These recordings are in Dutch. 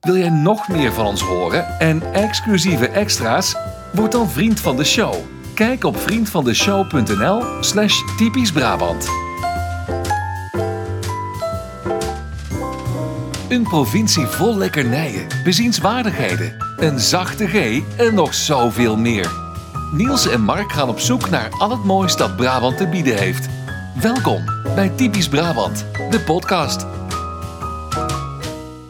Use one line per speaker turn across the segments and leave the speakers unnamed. Wil jij nog meer van ons horen en exclusieve extra's? Word dan vriend van de show. Kijk op vriendvandeshow.nl slash typisch Brabant. Een provincie vol lekkernijen, bezienswaardigheden, een zachte G en nog zoveel meer. Niels en Mark gaan op zoek naar al het moois dat Brabant te bieden heeft. Welkom bij Typisch Brabant, de podcast.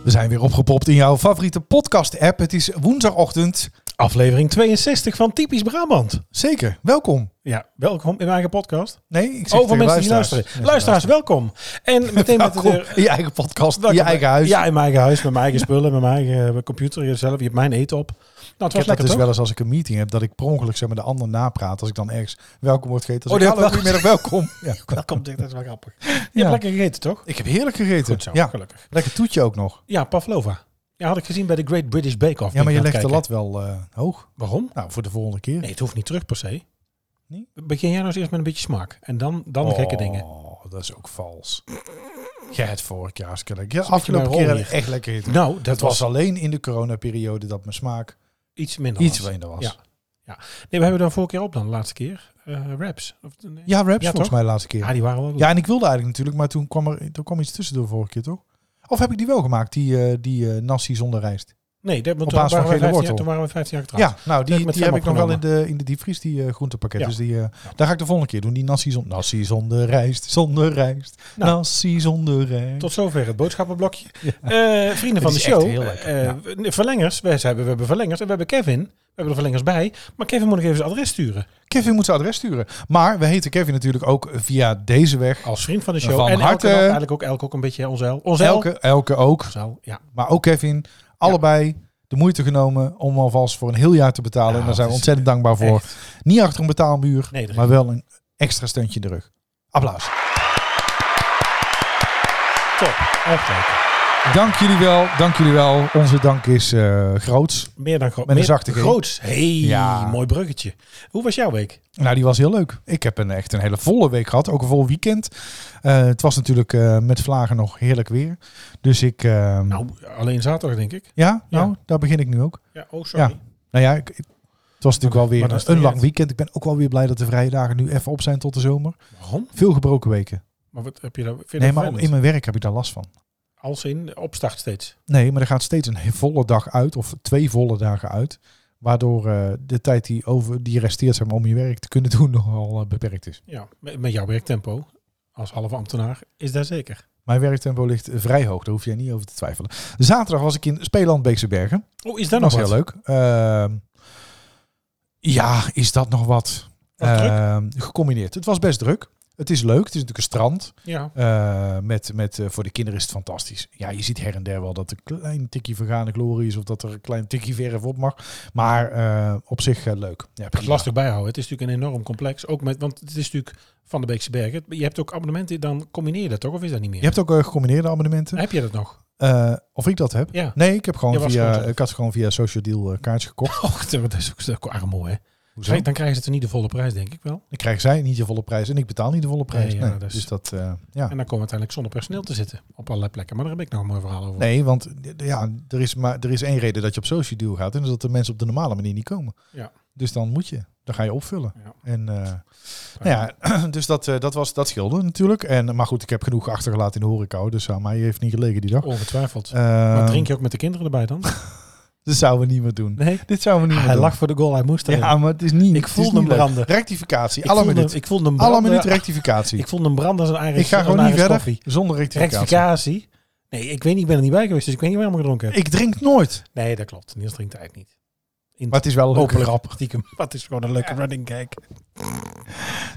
We zijn weer opgepopt in jouw favoriete podcast-app. Het is woensdagochtend.
Aflevering 62 van Typisch Brabant.
Zeker, welkom.
Ja, welkom in mijn eigen podcast.
Nee, ik zeg
Over
tegen
Oh, mensen die luisteren.
luisteraars.
Luisteraars, welkom. En meteen met de
Welkom
deur.
in je eigen podcast, in
Welkom
je
bij-
eigen huis.
Ja, in mijn eigen huis, met mijn eigen spullen, met mijn eigen eh, computer, jezelf. Je hebt mijn eten op. Nou, het
ik heb
was
dat
lekker
dus
toch?
wel eens als ik een meeting heb, dat ik per ongeluk zeg maar de ander napraat. Als ik dan ergens welkom word gegeten. Dan
Oh,
zeg ik,
die
hallo,
heb
goedemiddag, welkom. Ja.
Welkom, dit is wel grappig. Je
Ja.
hebt lekker gegeten toch?
Ik heb heerlijk gegeten.
Goed zo,
ja.
gelukkig.
Lekker toetje ook nog.
Ja, pavlova. Ja, had ik gezien bij de Great British Bake Off.
Ja, maar
Ben
je
ik
legt
aan
de
het
lat wel eh, hoog.
kijken. Waarom?
Nou, voor de volgende keer.
Nee, het hoeft niet terug per se.
Nee?
Begin jij nou eens eerst met een beetje smaak. En dan, dan
Oh,
gekke dingen.
dat is ook vals. Jij het vorig jaar eens kunnen. Ja,
een beetje
afgelopen
mijn
keer
rol
had ik echt lekker gegeten.
Nou, dat,
Het was alleen in de coronaperiode dat mijn smaak
iets minder.
iets
was.
minder was.
Ja. Nee, we hebben dan vorige keer op dan, de laatste keer. eh raps. Of, nee.
Ja, raps
Ja,
volgens
toch?
mij de laatste keer.
Ja, die waren wel goed.
Ja, en ik wilde eigenlijk natuurlijk, maar toen kwam er toen kwam iets tussendoor vorige keer, toch? Of heb ik die wel gemaakt, die, eh, die eh, nasi zonder rijst?
Nee, dat, want
Op
toen,
basis van
waren we
gele
15
wortel.
jaar, toen waren we 15 jaar getrouwd.
Ja, nou,
Die heb ik
die,
met
die
hem
heb ik nog wel in
opgenomen.
de, in de diepvries, die eh, groentepakket.
Ja.
Dus die, eh, daar ga ik de volgende keer doen. Die nasi, zon, nasi zonder rijst, zonder rijst,
Nou.
nasi zonder rijst.
Tot zover het boodschappenblokje.
Ja.
Eh, vrienden van de
Het is echt
show.
heel lekker,
eh,
ja.
we- Verlengers. We hebben, we hebben verlengers. En we hebben Kevin. We hebben er verlengers bij. Maar Kevin moet nog even zijn adres sturen.
Kevin moet zijn adres sturen. Maar we heten Kevin natuurlijk ook via deze weg.
Als vriend van de show.
Van
en
harte.
Elke, ook, eigenlijk ook Elke ook een beetje onze El. Onze El.
Elke, elke ook,
Onze El, ja.
maar ook Kevin. Allebei de moeite genomen om alvast voor een heel jaar te betalen.
Ja,
en daar zijn we
het is
ontzettend dankbaar voor.
Echt.
Niet achter een betaalmuur,
Nee, er-
maar wel een extra steuntje in de rug. Applaus.
Top. Echt leuk.
Dank jullie wel, dank jullie wel. Onze dank is eh groots.
Meer dan groot.
Met een
meer-
zachte G.
Groots. Hey,
Ja.
mooi bruggetje. Hoe was jouw week?
Nou, die was heel leuk. Ik heb een, echt een hele volle week gehad, ook een vol weekend. Eh, het was natuurlijk eh, met vlagen nog heerlijk weer. Dus ik... eh,
Nou, alleen zaterdag denk ik.
ja, nou,
ja.
daar begin ik nu ook.
Ja, oh sorry.
Nou ja, ik, ik- het was natuurlijk wel
maar
weer
dan is
een,
het niet
lang
uit.
weekend. Ik ben ook wel weer blij dat de vrije dagen nu even op zijn tot de zomer.
Waarom?
Veel gebroken weken.
Maar wat heb je daar? Vind je
Nee,
dat
maar
vervelend?
in mijn werk heb ik daar last van.
Als in opstart steeds.
Nee, maar er gaat steeds een volle dag uit, of twee volle dagen uit. Waardoor eh, de tijd die, over, die resteert zeg maar, om je werk te kunnen doen nogal eh, beperkt is.
Ja, met, met jouw werktempo als halve ambtenaar is daar zeker.
Mijn werktempo ligt vrij hoog, daar hoef jij niet over te twijfelen. Zaterdag was ik in Speeland Beekse Bergen.
Oh, is daar
Dat was
nog
heel
wat?
leuk. Ehm, ja, is dat nog wat?
Wat druk?
Ehm, Gecombineerd. Het was best druk. Het is leuk. Het is natuurlijk een strand.
Ja.
Eh, met, met, eh, voor de kinderen is het fantastisch. Ja, je ziet her en der wel dat er een klein tikje vergane glorie is. Of dat er een klein tikje verf op mag. Maar eh, op zich eh, leuk. Ja,
Het is lastig bijhouden. Het is natuurlijk een enorm complex. Ook met, want het is natuurlijk van de Beekse Bergen. Je hebt ook abonnementen, dan combineer je dat toch? Of is dat niet meer?
Je hebt ook eh, gecombineerde abonnementen.
Heb je dat nog?
Eh, of ik dat heb?
Ja.
Nee, ik heb
Je
gewoon
was
via,
gewoon zelf.
ik had gewoon via Social Deal eh, kaartjes gekocht.
Och, dat is ook, dat is ook armo, hè?
Hoezo?
Dan krijgen ze er niet de volle prijs, denk ik wel.
Dan krijgen zij niet de volle prijs en ik betaal niet de volle prijs.
Nee, ja,
Nee,
dat is-
Dus dat, eh, ja.
En dan komen we uiteindelijk zonder personeel te zitten op allerlei plekken. Maar daar heb ik nog een mooi verhaal over.
Nee, want eh, ja, er is maar er is één reden dat je op Social Deal gaat. En dat is dat de mensen op de normale manier niet komen.
Ja.
Dus dan moet je. Dan ga je opvullen.
Ja.
En eh,
Maar-
Nou ja, dus dat, eh, dat, was, dat scheelde natuurlijk. En, maar goed, ik heb genoeg achtergelaten in de horeca. hoor, Dus aan mij heeft niet gelegen die dag.
Ongetwijfeld.
Eh,
maar drink je ook met de kinderen erbij dan?
Dit zouden we niet meer doen.
Nee.
Dit zouden we niet
Hij
meer
lag voor de goal, hij moest
doen.
erin.
Ja, maar het is niet
Ik
het
voelde
is niet
hem
leuk.
branden.
Rectificatie.
ik,
Alle
voelde,
minuut.
ik voelde hem
Alle
branden.
minuut rectificatie.
Ik vond een brand als een eigen
Ik ga gewoon niet verder zonder rectificatie.
Rectificatie? Nee, ik weet niet, ik ben er niet bij geweest, dus ik weet niet waarom ik gedronken heb.
Ik drink nooit.
Nee, dat klopt. Niels drinkt eigenlijk niet.
Maar het is wel een leuke
Hopelijk
grap.
stiekem. Wat is gewoon een leuke running gag. Ik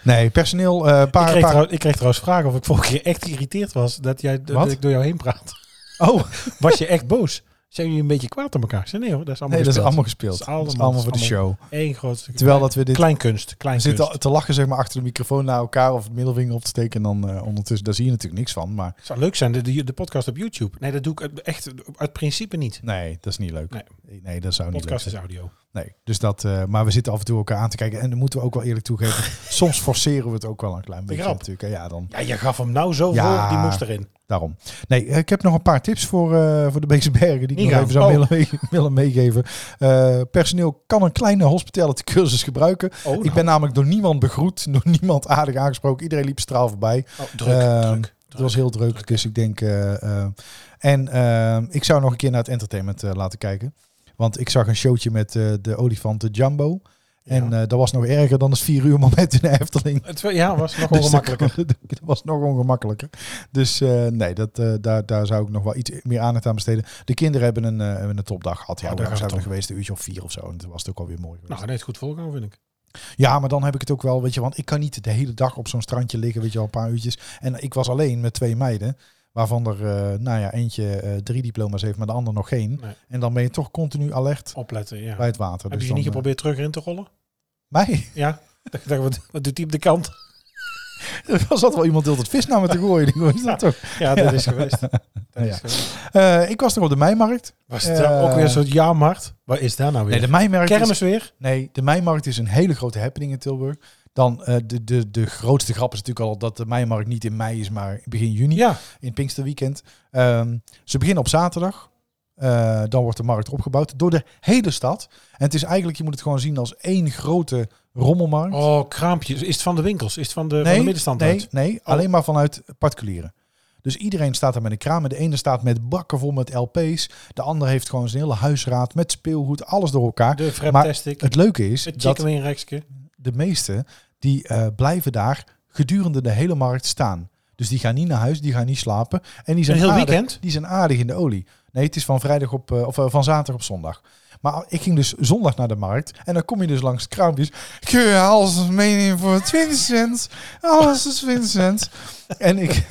Nee, personeel. eh paar,
kreeg,
paar-
trouw- ik kreeg trouwens vragen of ik vorige keer echt geïrriteerd was dat, jij, dat
Wat?
ik door jou heen praat.
Oh,
Was je echt boos? Zijn jullie een beetje kwaad op elkaar? Ik zei, nee hoor, dat is allemaal
nee, dat is
gespeeld.
allemaal gespeeld.
Dat is allemaal-
dat is allemaal voor de show.
Eén groot stuk.
Terwijl dat we dit
Klein kunst, klein
We
kunst.
zitten te lachen zeg maar, achter de microfoon naar elkaar of het middelvinger op te steken. En dan eh, ondertussen, daar zie je natuurlijk niks van. Maar
Het zou leuk zijn, de, de, de podcast op YouTube. Nee, dat doe ik echt uit principe niet.
nee, dat is niet leuk.
Nee.
Nee, dat zou niet leuk
Podcast
zijn.
is audio.
Nee, dus dat, eh, maar we zitten af en toe elkaar aan te kijken. En dan moeten we ook wel eerlijk toegeven. soms forceren we het ook wel een klein beetje
grap.
natuurlijk. En ja, dan
Ja, je gaf hem nou zo
Ja.
voor, die moest erin.
daarom. Nee, eh, ik heb nog een paar tips voor, eh, voor de Beekse Bergen. Die ik
Niet
nog
gaan.
even zou
Oh.
willen, mee- willen meegeven. Eh, personeel kan een kleine hospitality cursus gebruiken.
Oh, nou.
Ik ben namelijk door niemand begroet. Door niemand aardig aangesproken. Iedereen liep straal voorbij.
Oh, druk,
Ehm,
druk.
Het was heel druk, dus ik denk... eh, eh, en ehm, ik zou nog een keer naar het entertainment eh, laten kijken. Want ik zag een showtje met eh, de olifanten Jumbo. En eh, dat was nog erger dan het vier uur moment in de Efteling.
Het wa- ja, was nog
Dus dat-
ongemakkelijker.
dat was nog ongemakkelijker. Dus eh, nee, dat, eh, daar, daar zou ik nog wel iets meer aandacht aan besteden. De kinderen hebben een, eh, hebben een topdag gehad. Ja,
Oh, daar
daar
gaat
zijn
het
we
om.
geweest, een uurtje of vier of zo. En toen was het ook alweer mooi geweest.
Nou, net goed volgaan, vind ik.
Ja, maar dan heb ik het ook wel, weet je, want ik kan niet de hele dag op zo'n strandje liggen, weet je wel, een paar uurtjes. En ik was alleen met twee meiden, waarvan er, eh, nou ja, eentje eh, drie diploma's heeft, maar de ander nog geen.
Nee.
En dan ben je toch continu alert
Opletten, ja.
bij het water.
Heb
Dus
je je niet
dan,
geprobeerd terug in te rollen?
eh, mij?
Ja. Ik dacht, wat, wat doet die op de kant?
Er was altijd wel iemand die altijd vis naar me te gooien. Ik denk, wat is dat toch?
Ja, dat is geweest. Dat
Ja.
is geweest.
Eh, ik was nog op de Meimarkt.
Was
Eh,
het daar ook weer een soort jaarmarkt? Waar is daar nou weer?
Nee, de Meimarkt is-
Kermis weer?
Nee, de Meimarkt is een hele grote happening in Tilburg. Dan eh, de, de, de grootste grap is natuurlijk al dat de Meimarkt niet in mei is, maar begin juni.
Ja.
in het Pinksterweekend. Ehm, ze beginnen op zaterdag. Eh, dan wordt de markt opgebouwd door de hele stad. En het is eigenlijk, je moet het gewoon zien als één grote rommelmarkt.
Oh, kraampjes. Is het van de winkels? Is het van de, van de middenstand
nee,
uit? Oh.
nee, alleen maar vanuit particulieren. Dus iedereen staat daar met een kraam. En de ene staat met bakken vol met LP's. De andere heeft gewoon zijn hele huisraad met speelgoed, alles door elkaar.
De
Maar
Fraptastic. Dus Het
Het leuke is dat
Chicken Wing Rekske.
de meesten die eh, blijven daar gedurende de hele markt staan. Dus die gaan niet naar huis, die gaan niet slapen. En die
Een
zijn
heel
aardig,
weekend?
die zijn aardig in de olie. Nee, het is van vrijdag op eh, of eh, van zaterdag op zondag. Maar ik ging dus zondag naar de markt en dan kom je dus langs de kraampjes. Kun je alles meenemen voor 20 cent? Alles is 20 cent. En ik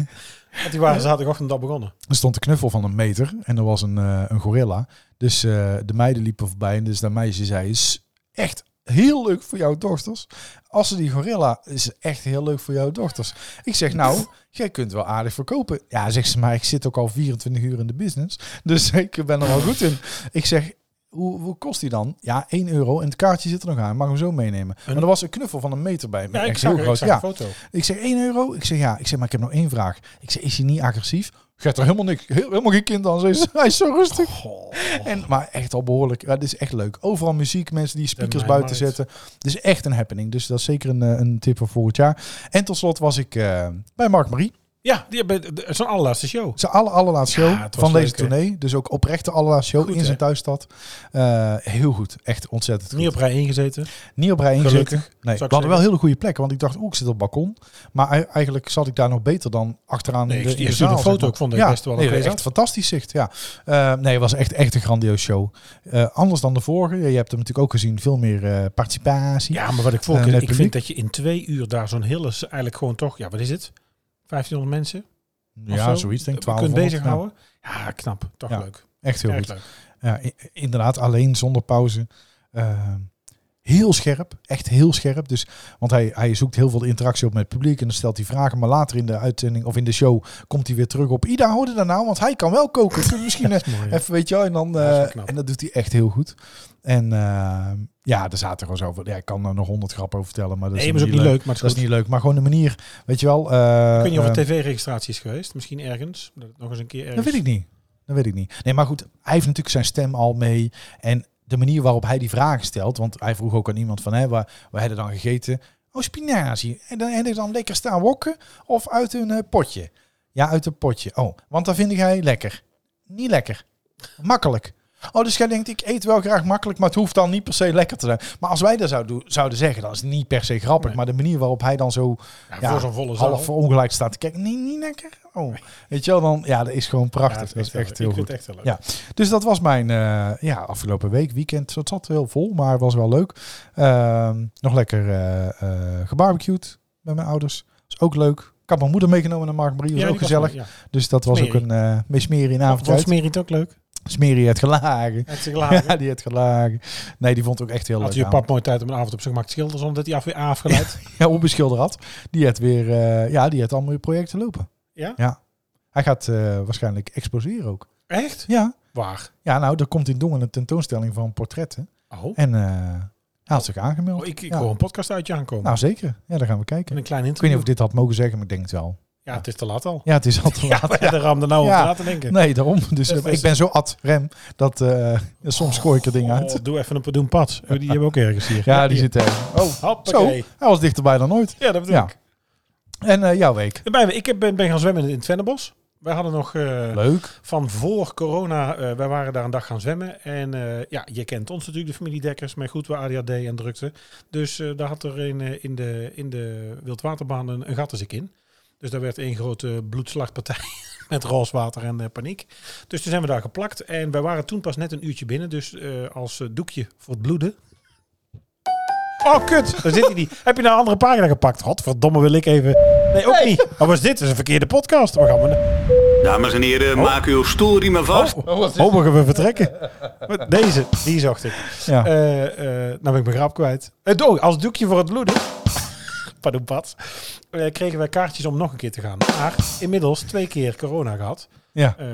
Want die waren zaterdagochtend al begonnen.
er stond een knuffel van een meter en er was een, eh, een gorilla. Dus eh, de meiden liepen voorbij en dus dat meisje zei, is echt heel leuk voor jouw dochters. Als ze die gorilla, is echt heel leuk voor jouw dochters. Ik zeg, nou, jij kunt wel aardig verkopen. Ja, zegt ze, maar ik zit ook al 24 uur in de business. Dus ik ben er wel goed in. Ik zeg, hoe, hoe kost die dan? Ja, 1 euro en het kaartje zit er nog aan. Mag hem zo meenemen. Maar er was een knuffel van een meter bij.
Ja,
Echt
ik zag,
heel
er, ik
groot.
zag
Ja.
een foto.
Ik zeg 1 euro. Ik zeg ja. Ik zeg maar ik heb nog één vraag. Ik zeg is hij niet agressief? Gaat er helemaal niks. heel- helemaal geen kind aan. Ze is- Hij is zo rustig. En, maar echt al behoorlijk. Ja, dit is echt leuk. Overal muziek. Mensen die speakers
mijn
buiten
markt.
zetten. Het is echt een happening. Dus dat is zeker een, eh, een tip voor volgend jaar. En tot slot was ik eh, bij Mark Marie.
Ja, die hebben de- zo'n allerlaatste show.
Zijn aller, allerlaatste
Ja,
show
het was
van deze
leuk, hè?
tournee. Dus ook oprechte allerlaatste show
Goed,
in zijn
hè?
thuisstad. Eh, heel goed. Echt ontzettend goed.
Niet op rij ingezeten.
Niet op rij
Gelukkig,
ingezeten. Nee, we
zeggen.
hadden wel hele goede plekken, want ik dacht, oeh, ik zit op het balkon. Maar ei- eigenlijk zat ik daar nog beter dan achteraan.
Nee,
in
ik
de-
stu-
in de
ik stuurde
zaal,
een
zeg
foto,
maar.
ik vond dat
ja,
best wel
nee,
oké
echt
zat.
fantastisch zicht, ja. Eh, nee, het was echt, echt een grandioos show. Eh, anders dan de vorige. Je hebt hem natuurlijk ook gezien, veel meer eh, participatie.
Ja, maar wat ik
Eh,
volg,
met
ik
publiek.
vind dat je in twee uur daar zo'n hele, s- eigenlijk gewoon toch, ja, wat is het? 1500 mensen? of
Ja,
zo?
zoiets denk ik.
Je
1200.
kunt bezig
Ja,
houden. Ja, knap. Toch
Ja,
leuk.
echt heel
Erg
goed.
leuk.
Ja, i- inderdaad, alleen zonder pauze. Eh, heel scherp, echt heel scherp. Dus, want hij, hij zoekt heel veel interactie op met het publiek en dan stelt hij vragen. Maar later in de uitzending of in de show komt hij weer terug op Ida, hoorde daar nou, want hij kan wel koken. Kunnen we misschien eh,
Dat is mooi, hè?
even, weet je wel, en, dan,
Ja, dat is wel
eh,
knap.
en dat doet hij echt heel goed. En eh, ja, er zaten gewoon zoveel. Ja, ik kan er nog honderd grappen over vertellen, maar dat is,
Nee, maar is
dan
ook niet leuk, maar het
Dat
is
is
goed.
niet leuk, maar gewoon de manier, weet je wel. eh,
Ik weet niet of
eh,
er tv-registratie is geweest. Misschien ergens. Dat het nog eens een keer ergens.
Dat weet ik niet. Dat weet ik niet. Nee, maar goed, hij heeft natuurlijk zijn stem al mee. En de manier waarop hij die vragen stelt. Want hij vroeg ook aan iemand van, hè, waar, waar heb je dan gegeten? Oh, spinazie. En dan heb je dan lekker staan wokken of uit een eh, potje? Ja, uit een potje. Oh, want dan vind jij lekker. Niet lekker. Makkelijk. Oh, dus jij denkt, ik eet wel graag makkelijk, maar het hoeft dan niet per se lekker te zijn. Maar als wij dat zouden, doen- zouden zeggen, dan is het niet per se grappig.
Nee.
Maar de manier waarop hij dan zo
Ja,
Ja,
voor zo'n volle zaal.
half ongelijk staat te kijken, nee, niet lekker. Oh, weet je wel, dan, ja, dat is gewoon
Ja,
prachtig.
het
dat is echt
leuk.
heel
ik
goed.
Vind het echt heel leuk.
Ja. Dus dat was mijn eh, ja, afgelopen week, weekend. Het zat heel vol, maar het was wel leuk. Ehm, nog lekker eh eh, gebarbecued bij mijn ouders. is ook leuk. Ik had mijn moeder meegenomen naar Mark Marie, was
Ja,
ook
die was
gezellig.
leuk,
Dus dat was ook
Smeri.
een eh mee smeren in
Ja.
avond
Vond Smeri het ook leuk?
Smeri het gelagen.
Het is gelaten.
Ja, die het gelagen. Nee, die vond het ook echt heel
Ah, Had
leuk.
je
aan.
pap mooi tijd om een avond op zijn gemak te schilderen, omdat hij af weer afgeleid.
Ja, onbeschilderd had. Die had weer, eh, ja, die had allemaal weer projecten lopen.
Ja?
Hij gaat eh, waarschijnlijk exposeren ook.
Echt?
Ja.
Waar?
Ja, nou, er komt in Dongen een tentoonstelling van portretten.
Oh,
En eh, hij had zich aangemeld.
oh, ik, ik
Ja.
hoor een podcast uit je aankomen.
Nou, zeker. Ja, daar gaan we kijken.
en een klein
Ik weet
interview.
niet of ik dit had mogen zeggen, maar ik denk het wel.
Ja, het is te laat al.
Ja, het is al te laat.
Ja, daar ramde nou
Ja.
op na te denken.
Nee, daarom. Dus
Dat
eh,
is-
ik ben zo ad rem dat eh, soms gooi ik er dingen uit.
Oh, doe even een padoen pad. Oh, Die hebben we ook ergens hier.
Ja, die
Hier.
zit er.
Oh, hoppakee.
Zo, hij was dichterbij dan ooit.
Ja, dat bedoel
Ja.
ik.
En eh, jouw week.
En bij me, ik heb- ben, ben gaan zwemmen in het Vennebos. Wij hadden nog eh,
Leuk.
van voor corona, eh, wij waren daar een dag gaan zwemmen. En eh, ja, je kent ons natuurlijk, de familie Dekkers, met goed we ADHD en drukte. Dus eh, daar had er een, eh, in, de, in de wildwaterbaan een, een gattenziek in. Dus daar werd één grote bloedslagpartij met roze water en eh, paniek. Dus toen zijn we daar geplakt. En wij waren toen pas net een uurtje binnen. Dus eh, als eh, doekje voor het bloeden. Oh, kut. Daar zit hij niet. Heb je nou een andere pagina gepakt? Godverdomme, wil ik even... Nee, ook niet. Wat was dit? Dat is een verkeerde podcast. Waar gaan we... na-
Dames en heren, maak uw stoelriemen vast.
Mogen we vertrekken? Met Deze, die zocht ik.
Ja.
Eh, eh, nou ben ik mijn grap kwijt. Eh, oh, als doekje voor het bloeden. Pardon, Pat. Eh, kregen wij kaartjes om nog een keer te gaan. Maar inmiddels twee keer corona gehad.
ja.
Eh,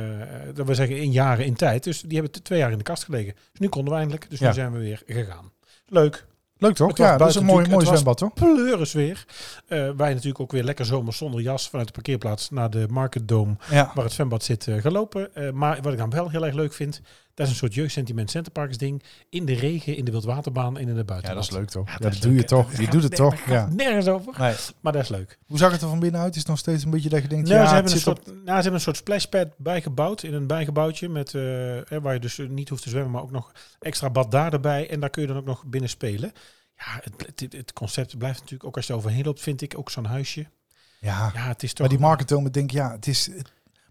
dat wil zeggen in jaren in tijd. Dus die hebben t- twee jaar in de kast gelegen. Dus nu konden we eindelijk. Dus
Ja.
nu zijn we weer gegaan. Leuk.
Leuk toch?
Het was
Ja, dat is een
buiten
mooi,
natuurlijk-
mooi
het was-
zwembad toch?
Pleuris weer. Eh, wij natuurlijk ook weer lekker zomer zonder jas vanuit de parkeerplaats naar de Market Dome
Ja.
waar het zwembad zit eh, gelopen. Eh, maar wat ik dan wel heel erg leuk vind, dat is een soort jeugdsentiment Centerparks ding. In de regen, in de wildwaterbaan en in de
ja,
buitenbad.
dat is leuk toch?
Ja,
Ja,
dat
dat
is
doe je
leuk, hè?
toch? Je doet het toch? Ja.
Nergens over,
Nee.
maar dat is leuk.
Hoe zag het er van binnenuit? Is het nog steeds een beetje dat je denkt,
Nou,
ja, het
ze, hebben een
zit op...
soort, nou, ze hebben een soort splashpad bijgebouwd in een bijgebouwtje met, eh, hè, waar je dus niet hoeft te zwemmen, maar ook nog extra bad daar erbij. En daar kun je dan ook nog binnen spelen. Ja, het, het, het concept blijft natuurlijk, ook als je er overheen loopt, vind ik ook zo'n huisje.
Ja,
Ja, het is toch...
maar die marketing denk ik, ja, het is...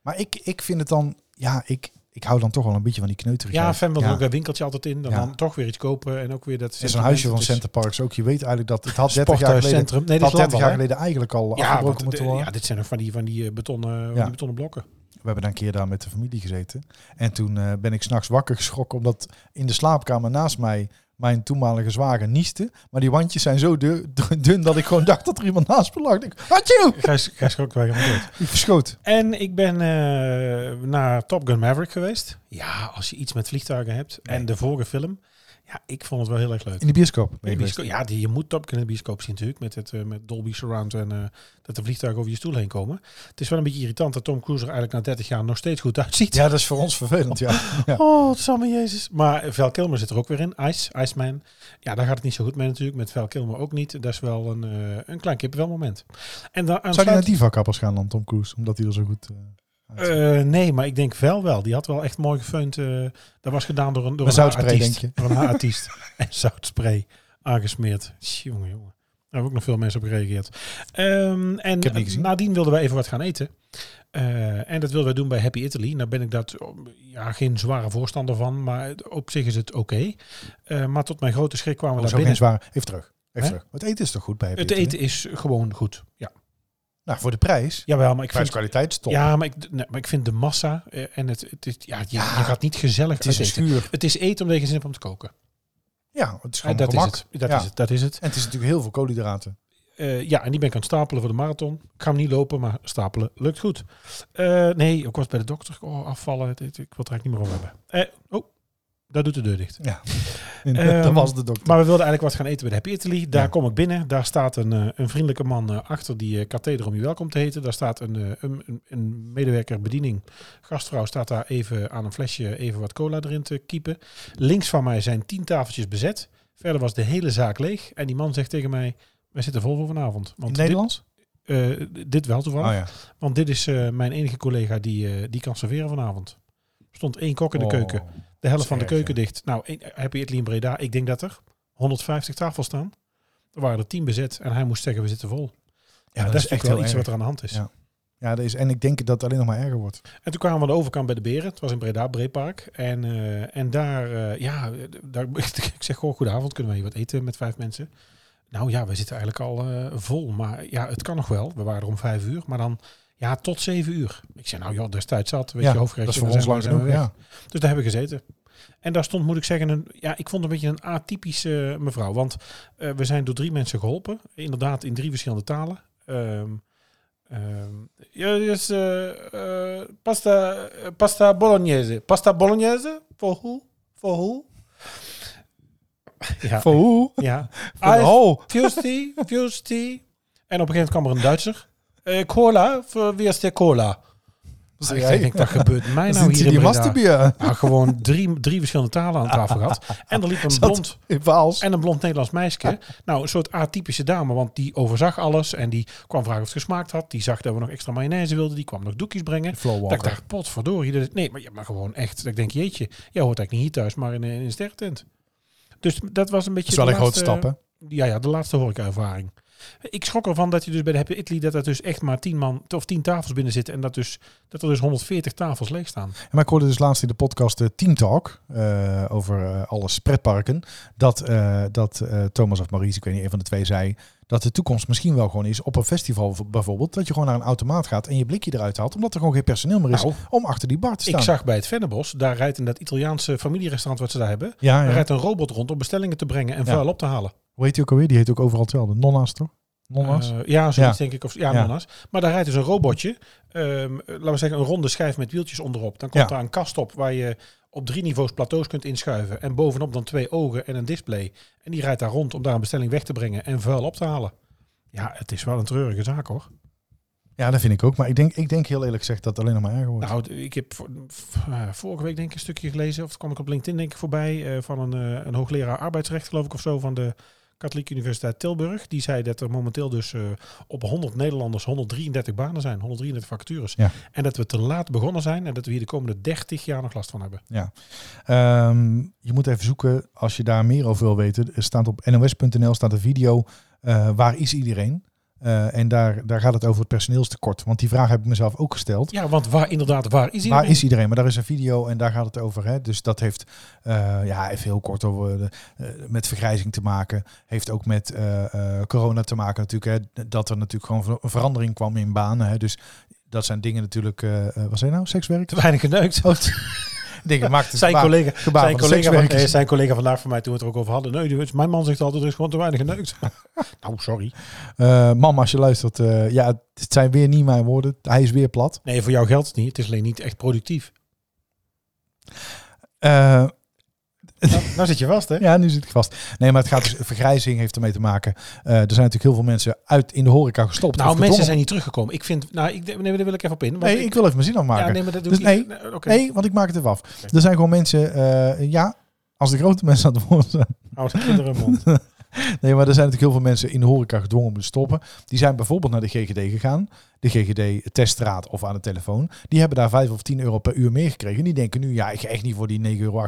Maar ik, ik vind het dan, ja, ik, ik hou dan toch wel een beetje van die kneuterigheid.
ja, fan wil er
Ja.
ook dat winkeltje altijd in. Dan,
Ja.
dan toch weer iets kopen en ook weer dat...
Het is een
sentiment.
huisje van
Het is-
Center Parks ook. Je weet eigenlijk dat het had 30 jaar geleden,
sportcentrum. Nee,
het
dat
had 30
is landbouw,
jaar
hè?
geleden eigenlijk al
Ja,
afgebroken
want
moeten
de-
worden.
ja, dit zijn nog van die, van die eh, betonnen, van
Ja.
die betonnen blokken.
We hebben daar een keer daar met de familie gezeten. En toen eh, ben ik s'nachts wakker geschrokken omdat in de slaapkamer naast mij mijn toenmalige zwager nieste. Maar die wandjes zijn zo dun, dun dat ik gewoon dacht dat er iemand naast me lag. Ik, Hatjoe!
Gijs, Gijs Krok, wij gaan dood.
Ik verschoot.
En ik ben eh, naar Top Gun Maverick geweest. Ja, als je iets met vliegtuigen hebt. En de vorige film. Ja, ik vond het wel heel erg leuk.
In de bioscoop. ben je
In de
geweest.
bioscoop- ja, die, je moet Top Gun in de bioscoop zien natuurlijk. Met, het, eh, met Dolby Surround en eh, dat de vliegtuigen over je stoel heen komen. Het is wel een beetje irritant dat Tom Cruise er eigenlijk na 30 jaar nog steeds goed uitziet.
Ja, dat is voor ons vervelend. Ja. Ja.
Oh, het zal me Jezus. Maar Val Kilmer zit er ook weer in. Ice, Iceman. Ja, daar gaat het niet zo goed mee natuurlijk. Met Val Kilmer ook niet. Dat is wel een, eh, een klein kippenwelmoment.
Zou die
En dan
naar
aansluit...
diva kappers gaan dan, Tom Cruise? Omdat hij er zo goed... eh, uitziet?
Eh, nee, maar ik denk wel wel. Die had wel echt mooi gefeund. eh, dat was gedaan door een, door
Met
een
zoutspray,
artiest.
denk
Door een artiest. en zoutspray aangesmeerd. Jongen, jongen. Daar hebben ook nog veel mensen op gereageerd. Ehm, en
Ik heb niet gezien.
nadien wilden wij even wat gaan eten. Eh, en dat wilden wij doen bij Happy Italy. Nou ben ik daar ja, geen zware voorstander van, maar op zich is het oké. Eh, maar tot mijn grote schrik kwamen we
Hoezo
daar
Oh, geen
binnen.
zware... Even terug. Even
Hè?
terug. Het eten is toch goed bij Happy
Het
Italy?
eten is gewoon goed. Ja.
Nou, voor de prijs.
Jawel, maar ik vind
Prijskwaliteit is top.
Ja, maar ik, nee, maar ik vind de massa eh, en het, het is, ja, je, je gaat niet gezellig
het is een
uit eten.
schuur.
Het is eten omdat je geen zin hebt om te koken.
Ja, het is
Eh,
gewoon
dat, is
gemak.
het. dat
Ja.
is het. Dat is het.
En het is natuurlijk heel veel koolhydraten.
Eh, ja, en die ben ik aan het stapelen voor de marathon. Ik ga hem niet lopen, maar stapelen lukt goed. Eh, nee, ik was bij de dokter. Oh, afvallen. dit- Ik wil het er eigenlijk niet meer over hebben. Eh, oh, daar doet de deur dicht.
Ja,
Ehm,
dat was de dokter.
Maar we wilden eigenlijk wat gaan eten bij de Happy Italy. Daar
Ja.
kom ik binnen. Daar staat een, eh, een vriendelijke man eh, achter die eh katheder om je welkom te heten. Daar staat een, eh, een, een- een medewerker bediening. Gastvrouw staat daar even aan een flesje even wat cola erin te kiepen. Links van mij zijn tien tafeltjes bezet. Verder was de hele zaak leeg. En die man zegt tegen mij, wij zitten vol voor vanavond.
In het
dit-
Nederlands?
eh, dit wel toevallig.
Oh ja.
Want dit is eh, mijn enige collega die, eh, die kan serveren vanavond. Er stond één kok in de
Oh.
keuken. De helft van de
Dat is erg,
keuken dicht. Nou, een- Happy Italy in Breda. Ik denk dat er 150 tafels staan. Er waren er 10 bezet en hij moest zeggen, we zitten vol. Ja, dat, is echt wel iets wat er aan de hand is.
Ja. Ja, dat is, en ik denk dat het alleen nog maar erger wordt.
En toen kwamen we aan de overkant bij de Beren. Het was in Breda, Breepark. En, eh, en daar, eh, ja, eh, daar, ik zeg gewoon goedenavond. Kunnen wij hier wat eten met vijf mensen? Nou ja, we zitten eigenlijk al eh, vol. Maar ja, het kan nog wel. We waren er om vijf uur. Maar dan, ja, tot zeven uur. Ik zei, nou joh, daar is tijd zat. Weet
ja,
je,
dat
hoofdgerecht.
is voor
en
ons
dan
lang
zijn we-
genoeg.
zijn we
Ja.
weg. Dus daar hebben we gezeten. En daar stond, moet ik zeggen, een, ja, ik vond het een beetje een atypische mevrouw. Want eh, we zijn door drie mensen geholpen. Inderdaad, in drie verschillende talen. Ehm ehm, ja, dus, eh, eh, pasta, eh, pasta bolognese. Pasta bolognese? Voor hoe? Voor hoe? Ja.
Voor hoe?
ja. Ah,
Voor de ho.
Fusty, Fusty. En op een gegeven moment kwam er een Duitser. Eh, cola, voor wie is de cola? Ah,
Wat
Ik
zeg jij?
denk, wat gebeurt mij nou
Zit
hier
ze
in
die
Breda?
masturbieren?
Nou, gewoon drie, drie verschillende talen aan tafel gehad. En er liep een blond,
In Waals.
en een blond Nederlands meisje. Nou, een soort atypische dame, want die overzag alles. En die kwam vragen of het gesmaakt had. Die zag dat we nog extra mayonaise wilden. Die kwam nog doekjes brengen.
Flo
Dat ik
Walker.
dacht, potverdorie. dit is- Nee, maar, ja, maar gewoon echt. Dat ik denk, jeetje, jij hoort eigenlijk niet hier thuis, maar in, een- in een sterrentent. Dus dat was een beetje...
Dat is wel
de
een grote
laatste-
stap, hè?
ja, ja, de laatste horeca-ervaring. Ik schrok ervan dat je dus bij de Happy Italy... dat er dus echt maar tien man of tien tafels binnen zitten... en dat, dus, dat er dus 140 tafels leeg staan.
Maar ik hoorde dus laatst in de podcast eh, Team Talk eh, over eh, alle pretparken. Dat, eh, dat eh, Thomas of Maurice, ik weet niet, een van de twee zei. Dat de toekomst misschien wel gewoon is op een festival v- bijvoorbeeld. Dat je gewoon naar een automaat gaat en je blikje eruit haalt. Omdat er gewoon geen personeel meer is
Nou,
om achter die bar te staan.
ik zag bij het Vennebos... daar rijdt in dat Italiaanse familierestaurant wat ze daar hebben...
Ja,
daar
ja.
rijdt een robot rond om bestellingen te brengen... en
Ja.
vuil op te halen.
Hoe heet die ook alweer? Die heet ook overal hetzelfde. Nonna's toch? Nonna's?
Eh, ja, zoiets
Ja.
denk ik. Of, ja,
Ja.
nonna's. Maar daar rijdt dus een robotje. ehm, eh, laten we zeggen, een ronde schijf met wieltjes onderop. Dan komt
Ja.
daar een kast op waar je op drie niveaus plateaus kunt inschuiven. En bovenop dan twee ogen en een display. En die rijdt daar rond om daar een bestelling weg te brengen en vuil op te halen. Ja, het is wel een treurige zaak hoor.
ja, dat vind ik ook. Maar ik denk, ik denk heel eerlijk gezegd dat het alleen nog maar erger wordt.
Nou, d- ik heb vo- v- eh, vorige week denk ik een stukje gelezen, of het kwam ik op LinkedIn denk ik voorbij, eh, van een, eh, een hoogleraar arbeidsrecht geloof ik of zo van de Katholieke Universiteit Tilburg. Die zei dat er momenteel dus eh, op 100 Nederlanders 133 banen zijn, 133 vacatures.
Ja.
En dat we te laat begonnen zijn en dat we hier de komende 30 jaar nog last van hebben.
Ehm, je moet even zoeken, als je daar meer over wil weten, er staat op nos.nl staat een video eh, waar is iedereen? Eh, en daar, daar gaat het over het personeelstekort. Want die vraag heb ik mezelf ook gesteld.
Ja, want waar inderdaad, waar is iedereen?
Waar is iedereen? Maar daar is een video en daar gaat het over. Hè? Dus dat heeft, eh, ja, even heel kort over, de- eh, met vergrijzing te maken. Heeft ook met eh, eh, corona te maken natuurlijk. Hè? Dat er natuurlijk gewoon ver- een verandering kwam in banen. Hè? Dus dat zijn dingen natuurlijk, eh eh, wat zijn nou, sekswerk?
Te weinig geneukt.
Oh, dingen maakt het
Zijn
gebaar-
collega,
gebaar
zijn,
van de
collega van,
sekswerkers.
eh, zijn collega vandaag van mij toen we het er ook over hadden. Nee, die- mijn man zegt altijd, er is gewoon te weinig geneukt. nou, sorry.
Eh mama, als je luistert, eh, ja, het zijn weer niet mijn woorden. Hij is weer plat.
Nee, voor jou geldt het niet. Het is alleen niet echt productief.
Eh,
Nou, nou zit je vast, hè?
ja, nu zit ik vast. Nee, maar het gaat dus, vergrijzing heeft ermee te maken. Eh, er zijn natuurlijk heel veel mensen uit in de horeca gestopt.
Nou,
of
mensen
gedwongen.
zijn niet teruggekomen. Ik vind, nou, ik, nee, daar wil ik even op in. want
Nee, ik wil even mijn zin afmaken.
ja, nee, maar dat doe
Dus
ik
nee,
niet. Nee, oké.
nee. want ik maak het even af. Er zijn gewoon mensen, eh, ja, als de grote mensen aan het woord zijn.
Hou de kinderen mond.
Nee, maar er zijn natuurlijk heel veel mensen in de horeca gedwongen om te stoppen. Die zijn bijvoorbeeld naar de GGD gegaan. De GGD-teststraat of aan de telefoon. Die hebben daar 5 of 10 euro per uur meer gekregen. Die denken nu, ja, ik ga echt niet voor die 9,38 euro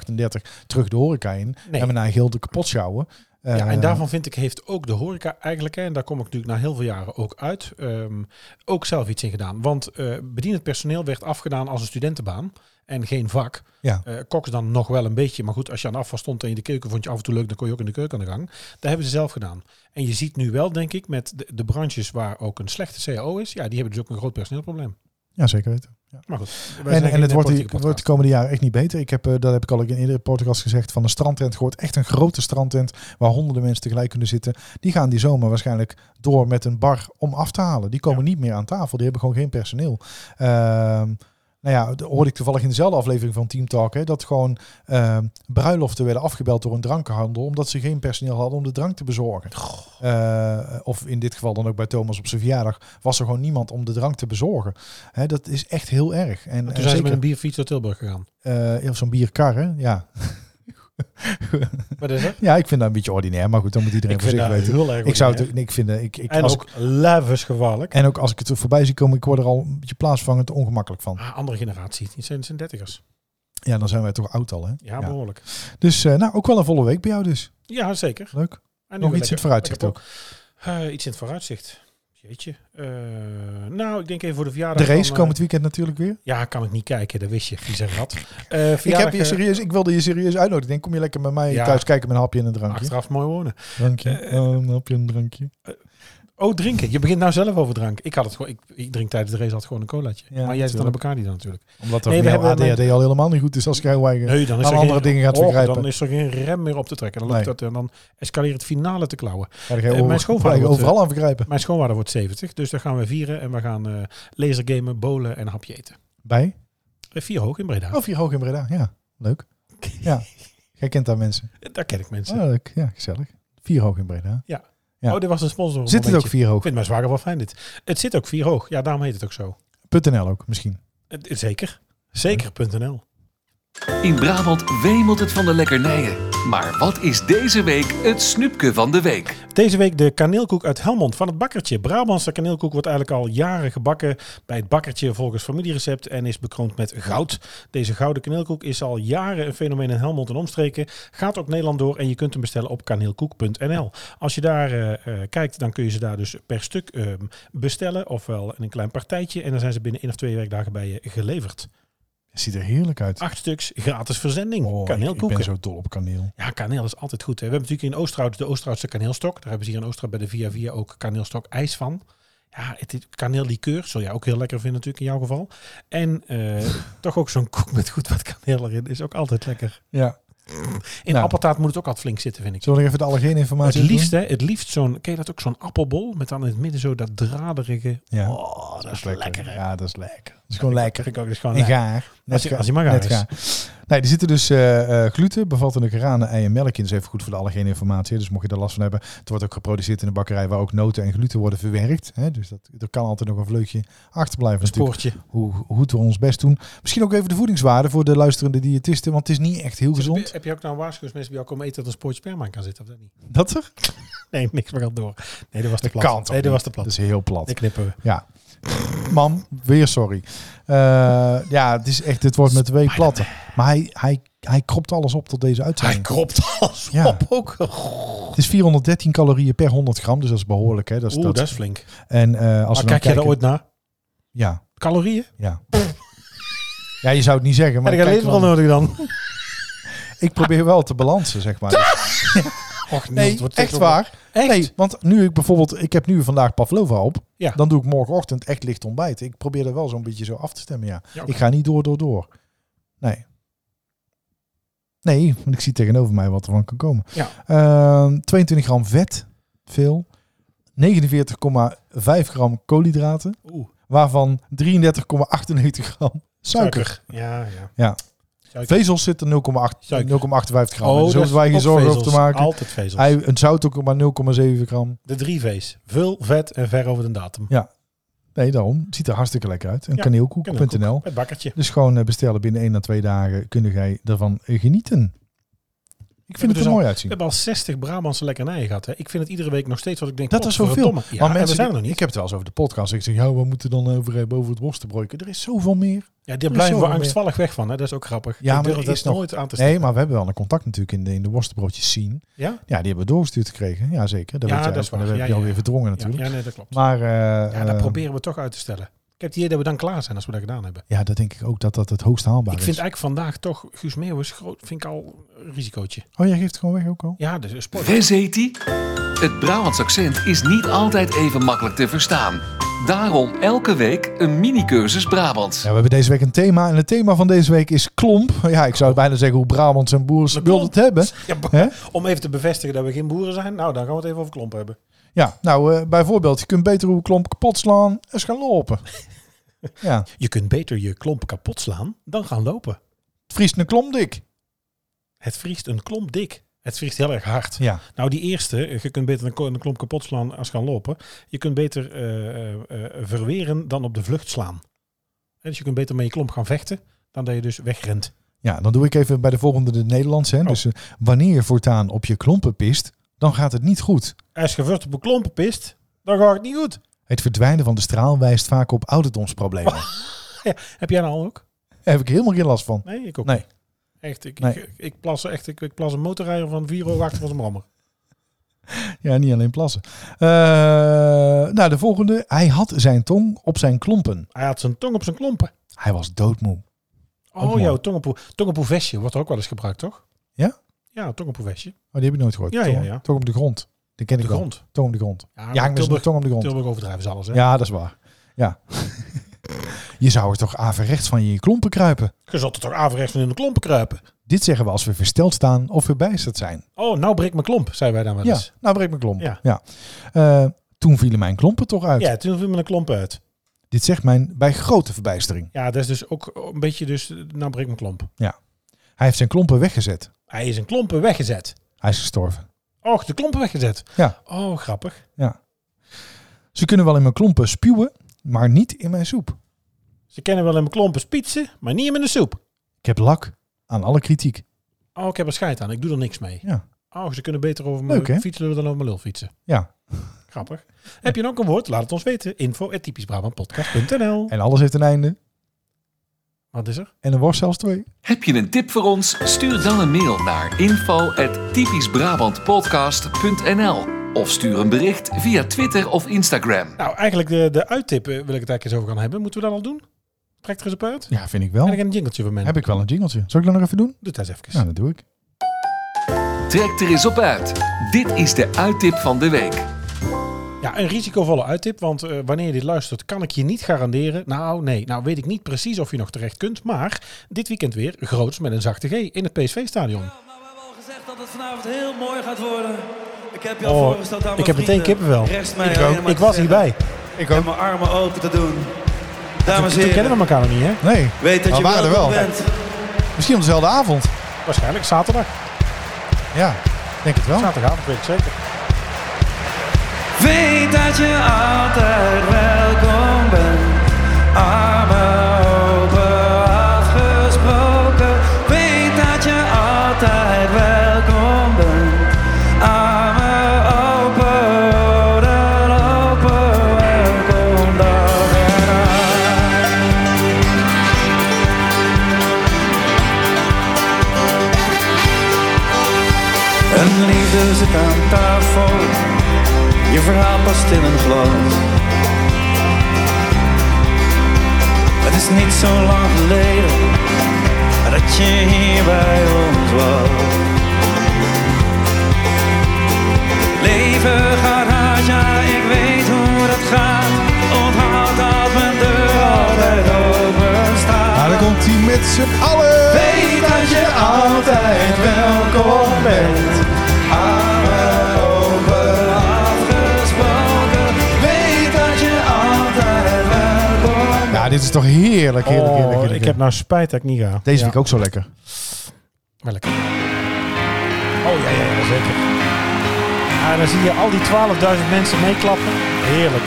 terug de horeca in.
Nee.
En mijn eigen heel de kapot sjouwen.
Ja, en
Eh,
daarvan vind ik, heeft ook de horeca eigenlijk, hè, en daar kom ik natuurlijk na heel veel jaren ook uit, ehm, ook zelf iets in gedaan. Want eh bedienend personeel werd afgedaan als een studentenbaan en geen vak.
Ja.
Eh, koks dan nog wel een beetje, maar goed, als je aan afval stond en je de keuken vond je af en toe leuk, dan kon je ook in de keuken aan de gang. Dat hebben ze zelf gedaan. En je ziet nu wel, denk ik, met de, de branches waar ook een slechte CAO is, ja, die hebben dus ook een groot personeelprobleem.
Ja, zeker weten.
Maar goed, wij zijn
En, en
geen
het wordt, die-
politieke podcast.
wordt de komende jaren echt niet beter. Ik heb, eh, dat heb ik al in eerdere podcast gezegd, van een strandtent gehoord. Echt een grote strandtent waar honderden mensen tegelijk kunnen zitten. Die gaan die zomer waarschijnlijk door met een bar om af te halen. Die komen niet meer aan tafel. Die hebben gewoon geen personeel. Ehm, nou ja, dat hoorde ik toevallig in dezelfde aflevering van Team Talk. Hè, dat gewoon ehm, bruiloften werden afgebeld door een drankenhandel. Omdat ze geen personeel hadden om de drank te bezorgen. Eh, of in dit geval dan ook bij Thomas op zijn verjaardag. Was er gewoon niemand om de drank te bezorgen. Hè, dat is echt heel erg. En, en
Toen zijn ze
zeker-
met een bierfiets naar Tilburg gegaan.
eh of zo'n bierkar, hè? Ja.
Wat is dat?
ja, ik vind dat een beetje ordinair, maar goed, dan moet iedereen
Ik
voor
vind
zich
dat
weten.
heel erg
Ik zou het
ordinair.
ook, nee, ik vind, eh, ik, ik,
En
als
ook levensgevaarlijk.
ik- en ook als ik het er voorbij zie komen, ik word er al een beetje plaatsvangend ongemakkelijk van.
Ah, andere generatie. Die zijn, zijn dertigers.
Ja, dan zijn wij toch oud al, hè?
Ja, behoorlijk.
Dus, eh, nou, ook wel een volle week bij jou dus.
Ja, zeker.
Leuk.
En nu
Nog
weer
iets in het
lekker-
vooruitzicht
lekker
ook.
pop. Eh, iets in het vooruitzicht. Jeetje. Eh, nou, ik denk even voor de
De
verjaardag.
race
van,
komend weekend natuurlijk weer.
eh, ja, kan ik niet kijken. Dat wist je. Vieze rat. Eh,
Ik,
verjaardag,
heb je serieus, ik wilde je serieus uitnodigen. Ik denk, kom je lekker met mij
Ja.
thuis kijken met een hapje en een
eh,
drankje.
Achteraf mooi wonen.
Drankje,
Eh,
Oh, een hapje en een drankje.
Oh, drinken. Je begint nou zelf over drank. Ik had het gewoon. Ik, ik drink tijdens de race altijd gewoon een colaatje.
Ja,
maar jij zit aan de
natuurlijk.
Bacardi dan natuurlijk.
Omdat
Nee,
nee,
we
jouw ADHD
hebben-
al helemaal niet goed is als ik jou weiger.
Nee, dan is
Aan
er
andere
geen,
dingen gaat
Oh,
vergrijpen.
Dan is er geen rem meer op te trekken. Dan, loopt
Nee.
dat, en dan escaleert het finale te klauwen.
Ga je
eh,
over-
mijn schoonvader
ga je
wordt, eh,
overal aan vergrijpen.
Mijn schoonvader wordt 70, dus daar gaan we vieren en we gaan eh lasergamen, bowlen en een hapje eten.
Bij? Oh.
Eh, Vier hoog in Breda.
Of hier hoog in Breda, ja. Leuk. Ja. Jij kent daar mensen.
Eh, Daar ken ik mensen.
Ah, leuk. Ja, gezellig. Vier hoog in Breda. ja.
Oh, dit was een sponsor.
Zit het ook vier
Ik
hoog?
vind mijn zwager wel fijn dit. Het zit ook vier hoog. Ja, daarom heet het ook zo.
.nl ook misschien.
Het- het- Zeker. Zeker.nl.
In Brabant wemelt het van de lekkernijen. Maar wat is deze week het snoepje van de week?
Deze week de kaneelkoek uit Helmond van het bakkertje. Brabantse kaneelkoek wordt eigenlijk al jaren gebakken bij het bakkertje volgens familierecept en is bekroond met goud. Deze gouden kaneelkoek is al jaren een fenomeen in Helmond en omstreken. Gaat ook Nederland door en je kunt hem bestellen op kaneelkoek.nl. Als je daar eh, eh, kijkt, dan kun je ze daar dus per stuk eh, bestellen, ofwel in een klein partijtje. En dan zijn ze binnen één of twee werkdagen bij je geleverd.
Het ziet er heerlijk uit.
Acht stuks gratis verzending.
Oh, ik- ik,
kaneelkoeken.
ben zo dol op kaneel.
Ja, kaneel is altijd goed. Hè. We hebben natuurlijk in Oosterhout de Oosterhoutse kaneelstok. Daar hebben ze hier in Oosterhout bij de Via Via ook kaneelstok ijs van. Ja, het is kaneellikeur. Zul jij ook heel lekker vinden natuurlijk in jouw geval. En eh, toch ook zo'n koek met goed wat kaneel erin is ook altijd lekker.
Ja.
In
Nou.
appeltaart moet het ook altijd flink zitten, vind ik.
Zullen we nog even de
Het
allergeeninformatie
liefst, hè, het liefst zo'n, ken je dat ook, zo'n appelbol met dan in het midden zo dat draderige.
doen? Ja.
Oh, dat, is lekker. hè.
Ja, dat is lekker. Dat is gewoon lekker.
Vind ik ook, dat is gewoon
En
lekker.
gaar.
Als je- als je maar gaar
Net
is.
Nee, er zitten dus eh, eh, gluten, bevattende granen, ei en melk in. Dus even goed voor de allergene informatie. Dus mocht je daar last van hebben. Het wordt ook geproduceerd in de bakkerij waar ook noten en gluten worden verwerkt. Hè? Dus dat, er kan altijd nog een vleugje achterblijven
Een
natuurlijk.
spoortje.
Hoe, hoe goed we ons best doen. Misschien ook even de voedingswaarde voor de luisterende diëtisten. Want het is niet echt heel
Heb
gezond.
je- Heb je ook nou waarschuwingsmensen bij jou komen eten dat een spoortje sperma in kan zitten? Of dat niet?
Dat er?
Nee, niks meer aan door. Nee, dat was de
Dat
plat.
kan toch
nee, dat
niet? Dus
was de plat.
Dat is heel plat.
Die knippen we.
Ja. Mam, weer sorry. Eh, ja, het is echt, dit wordt met twee platten. Maar hij, hij, hij kropt alles op tot deze
Hij
uitzending.
kropt alles
Ja.
op ook.
Het is 413 calorieën per 100 gram, dus dat is behoorlijk. Hè? Dat is,
Oeh,
dat.
dat is flink.
En eh, als
maar
we dan
kijk jij
kijken...
daar ooit naar?
Ja,
Calorieën?
ja. ja, je zou het niet zeggen, maar
Maar ik heb
kijk
leverbrand
wel-
nodig dan.
ik probeer wel te balansen, zeg maar.
Och,
Nee, echt waar.
Echt?
Nee, want nu ik bijvoorbeeld, ik heb nu vandaag pavlova op.
Ja.
Dan doe ik morgenochtend echt licht ontbijt. Ik probeer er wel zo'n beetje zo af te stemmen, ja.
Ja, oké.
Ik ga niet door, door, door. Nee. Nee, want ik zie tegenover mij wat er van kan komen.
Ja.
Ehm, 22 gram vet, veel. 49,5 gram koolhydraten,
Oeh,
waarvan 33,98 gram suiker.
suiker. Ja, ja.
Ja.
Suiker.
Vezels zitten 0,8 0,58
Suiker. Oh,
gram. dus daar
dat is
hoeven wij geen
ook
zorgen over
vezels.
te maken.
Altijd vezels.
Ei, een zout ook maar 0,7 gram.
De drie V's. Vul, vet en ver over de datum.
Nee, daarom. Ziet er hartstikke lekker uit. Een
Ja,
kaneelkoek.nl.
Het bakkertje.
Dus gewoon eh, bestellen binnen 1 à 2 dagen kunnen jij ervan eh, genieten. Ik vind
hebben
het
dus
er
al-
mooi uitzien.
We hebben al 60 Brabantse lekkernijen gehad. Hè. Ik vind het iedere week nog steeds wat ik denk.
Dat is zoveel.
verdomme. Ja,
maar
mensen
mensen,
zijn er nog niet.
Ik heb het wel eens over de podcast. Ik zeg, ja, we moeten dan over hebben over het worstenbroodje. Er is zoveel meer.
Ja, daar blijven we
zoveel
angstvallig weg van. Hè. Dat is ook grappig.
Ja,
ik
maar
durf
er
dat
is nog-
nooit aan te stellen.
Nee, maar we hebben wel een contact natuurlijk in de, in de worstenbroodjes zien.
Ja?
Ja, die hebben we doorgestuurd gekregen. Ja, zeker. Dat
Ja,
weet jij
dat is
ook, maar
waar.
Dat heb
Ja,
je
ja,
alweer
ja.
verdrongen
Ja,
natuurlijk.
ja, nee, dat klopt.
Maar eh,
Ja, dat
eh,
proberen we toch uit te stellen. Ik heb het idee dat we dan klaar zijn als we dat gedaan hebben.
ja, dat denk ik ook dat dat het hoogst haalbaar
Ik
is.
vind eigenlijk vandaag toch Guus Meeuwis groot, vind ik al een risicootje.
Oh, jij geeft het gewoon weg ook al?
Ja, dus een sport.
Wes heet die? Het Brabants accent is niet altijd even makkelijk te verstaan. Daarom elke week een mini-cursus Brabants.
Ja, we hebben deze week een thema. En het thema van deze week is klomp. Ja, ik zou bijna zeggen hoe Brabants en boers
De
wil
klomp.
het hebben.
Ja, b-
Hè?
om even te bevestigen dat we geen boeren zijn, nou dan gaan we het even over klompen hebben.
Ja, nou eh, bijvoorbeeld, je kunt beter hoe klomp kapot slaan als gaan lopen. ja,
Je kunt beter je klomp kapot slaan dan gaan lopen.
het vriest een klomp dik.
Het vriest een klomp dik. Het vriest heel erg hard.
Ja,
Nou, die eerste, eh, je kunt beter een ko- een klomp kapot slaan als gaan lopen. Je kunt beter eh, eh, eh, verweren dan op de vlucht slaan. Hè, Dus je kunt beter met je klomp gaan vechten dan dat je dus wegrent.
ja dan doe ik even bij de volgende de Nederlandse. Hè. Dus eh, wanneer je voortaan op je klompen pist, dan gaat het niet goed.
Als je vast op een klompen pist, dan gaat het niet goed.
Het verdwijnen van de straal wijst vaak op ouderdomsproblemen.
Ja, heb jij nou al ook?
Daar heb ik helemaal geen last van.
Nee, ik ook
Nee.
niet. Echt, ik,
Nee.
ik, ik plas echt, ik, ik plas een motorrijder van 4 euro achter van zijn rammer.
Ja, niet alleen plassen. Eh, nou, de volgende. Hij had zijn tong op zijn klompen.
Hij had zijn tong op zijn klompen.
Hij was doodmoe. Ook
Oh,
mooi.
jouw tongenpoe, tongenpoevestje wordt er ook wel eens gebruikt, toch?
Ja?
Ja, tongenpoevestje.
Oh, die heb ik nooit gehoord.
Ja,
tong,
ja, ja.
tong op de grond. Die ken
De
ik wel.
grond.
Tong op de grond.
Ja, dus
Ja, ik met zijn
Tilburg,
tong op de grond.
Tilburg overdrijven ze alles, hè?
Ja, dat is waar. Ja. je zou er toch averechts van je in je klompen kruipen?
Je zult er toch averechts van in de klompen kruipen?
Dit zeggen we als we versteld staan of verbijsterd zijn.
Oh, nou breek mijn klomp, zeiden wij dan wel
Ja,
eens.
nou breek mijn klomp.
Ja.
Ja. Eh, toen vielen mijn klompen toch uit.
Ja, toen viel me een klomp uit.
Dit zegt mijn bij grote verbijstering.
Ja, dat is dus ook een beetje dus, eh, nou breek mijn klomp.
Ja. Hij heeft zijn klompen weggezet.
Hij is in klompen weggezet.
Hij is gestorven.
Och, de klompen weggezet.
Ja.
Oh, grappig.
Ze kunnen wel in mijn klompen spuwen, maar niet in mijn soep.
Ze kennen wel in mijn klompen spietsen, maar niet in mijn soep.
Ik heb lak aan alle kritiek.
Oh, ik heb er scheid aan. Ik doe er niks mee.
Ja.
Oh, ze kunnen beter over
Leuk, hè?
mijn fietsen dan over mijn lul fietsen.
Ja.
Grappig. Heb je dan ook een woord? Laat het ons weten. Info at typischbrabantpodcast.nl
En alles heeft een einde.
Wat is er?
En er was zelfs twee.
Heb je een tip voor ons? Stuur dan een mail naar info@typischbrabantpodcast.nl of stuur een bericht via Twitter of Instagram.
Nou, eigenlijk de, de uittippen wil ik het eigenlijk eens over gaan hebben. Moeten we dat al doen? Trek er eens op uit.
Ja, vind ik wel.
En ik heb een jingletje voor mensen.
Heb ik wel een jingletje. Zal ik dat nog even doen?
Doe dat eens even.
Ja, dat doe ik.
Trek er eens op uit. Dit is de uittip van de week.
Ja, een risicovolle uittip, want eh, wanneer je dit luistert, kan ik je niet garanderen. Nou, nee, nou weet ik niet precies of je nog terecht kunt, maar dit weekend weer groots met een zachte G in het PSV-stadion.
Nou, we hebben al gezegd dat het vanavond heel mooi gaat worden. Ik heb je al
Oh,
voorgesteld aan mijn
ik heb meteen
vrienden.
kippenvel.
Rechts mij
Ik,
alleen
ook.
maar
ik
te
was
zeggen.
hierbij.
Ik
En mijn armen open te doen. Dames en
Toen kennen
heren,
we elkaar nog niet, hè?
Nee,
weet dat
Maar
je
waren er
welkom
wel.
bent.
misschien op dezelfde avond.
Waarschijnlijk zaterdag.
Ja, denk het wel.
Zaterdagavond, weet ik zeker.
Weet dat je altijd welkom bent. Armen open afgesproken. Weet dat je altijd welkom bent. Armen open, oren open. Welkom dag en nacht. Een liefde zit aan tafel. Je verhaal past in een glas. Het is niet zo lang geleden dat je hier bij ons was. Leven gaat hard, ja, ik weet hoe dat gaat. Onthoud dat mijn deur altijd open staat.
Maar Nou, dan komt hij met z'n allen.
Weet dat je altijd welkom bent. Armen open afgesproken. Weet dat je altijd welkom bent.
Ja, dit is toch heerlijk, heerlijk, heerlijk.
Oh,
heerlijk,
ik
heerlijk.
heb nou spijt dat ik niet ga.
Deze
ja.
vind ik ook zo lekker.
Wel lekker. Oh ja, ja, ja, zeker. Ja, Ah, dan zie je al die 12.000 mensen meeklappen. Heerlijk.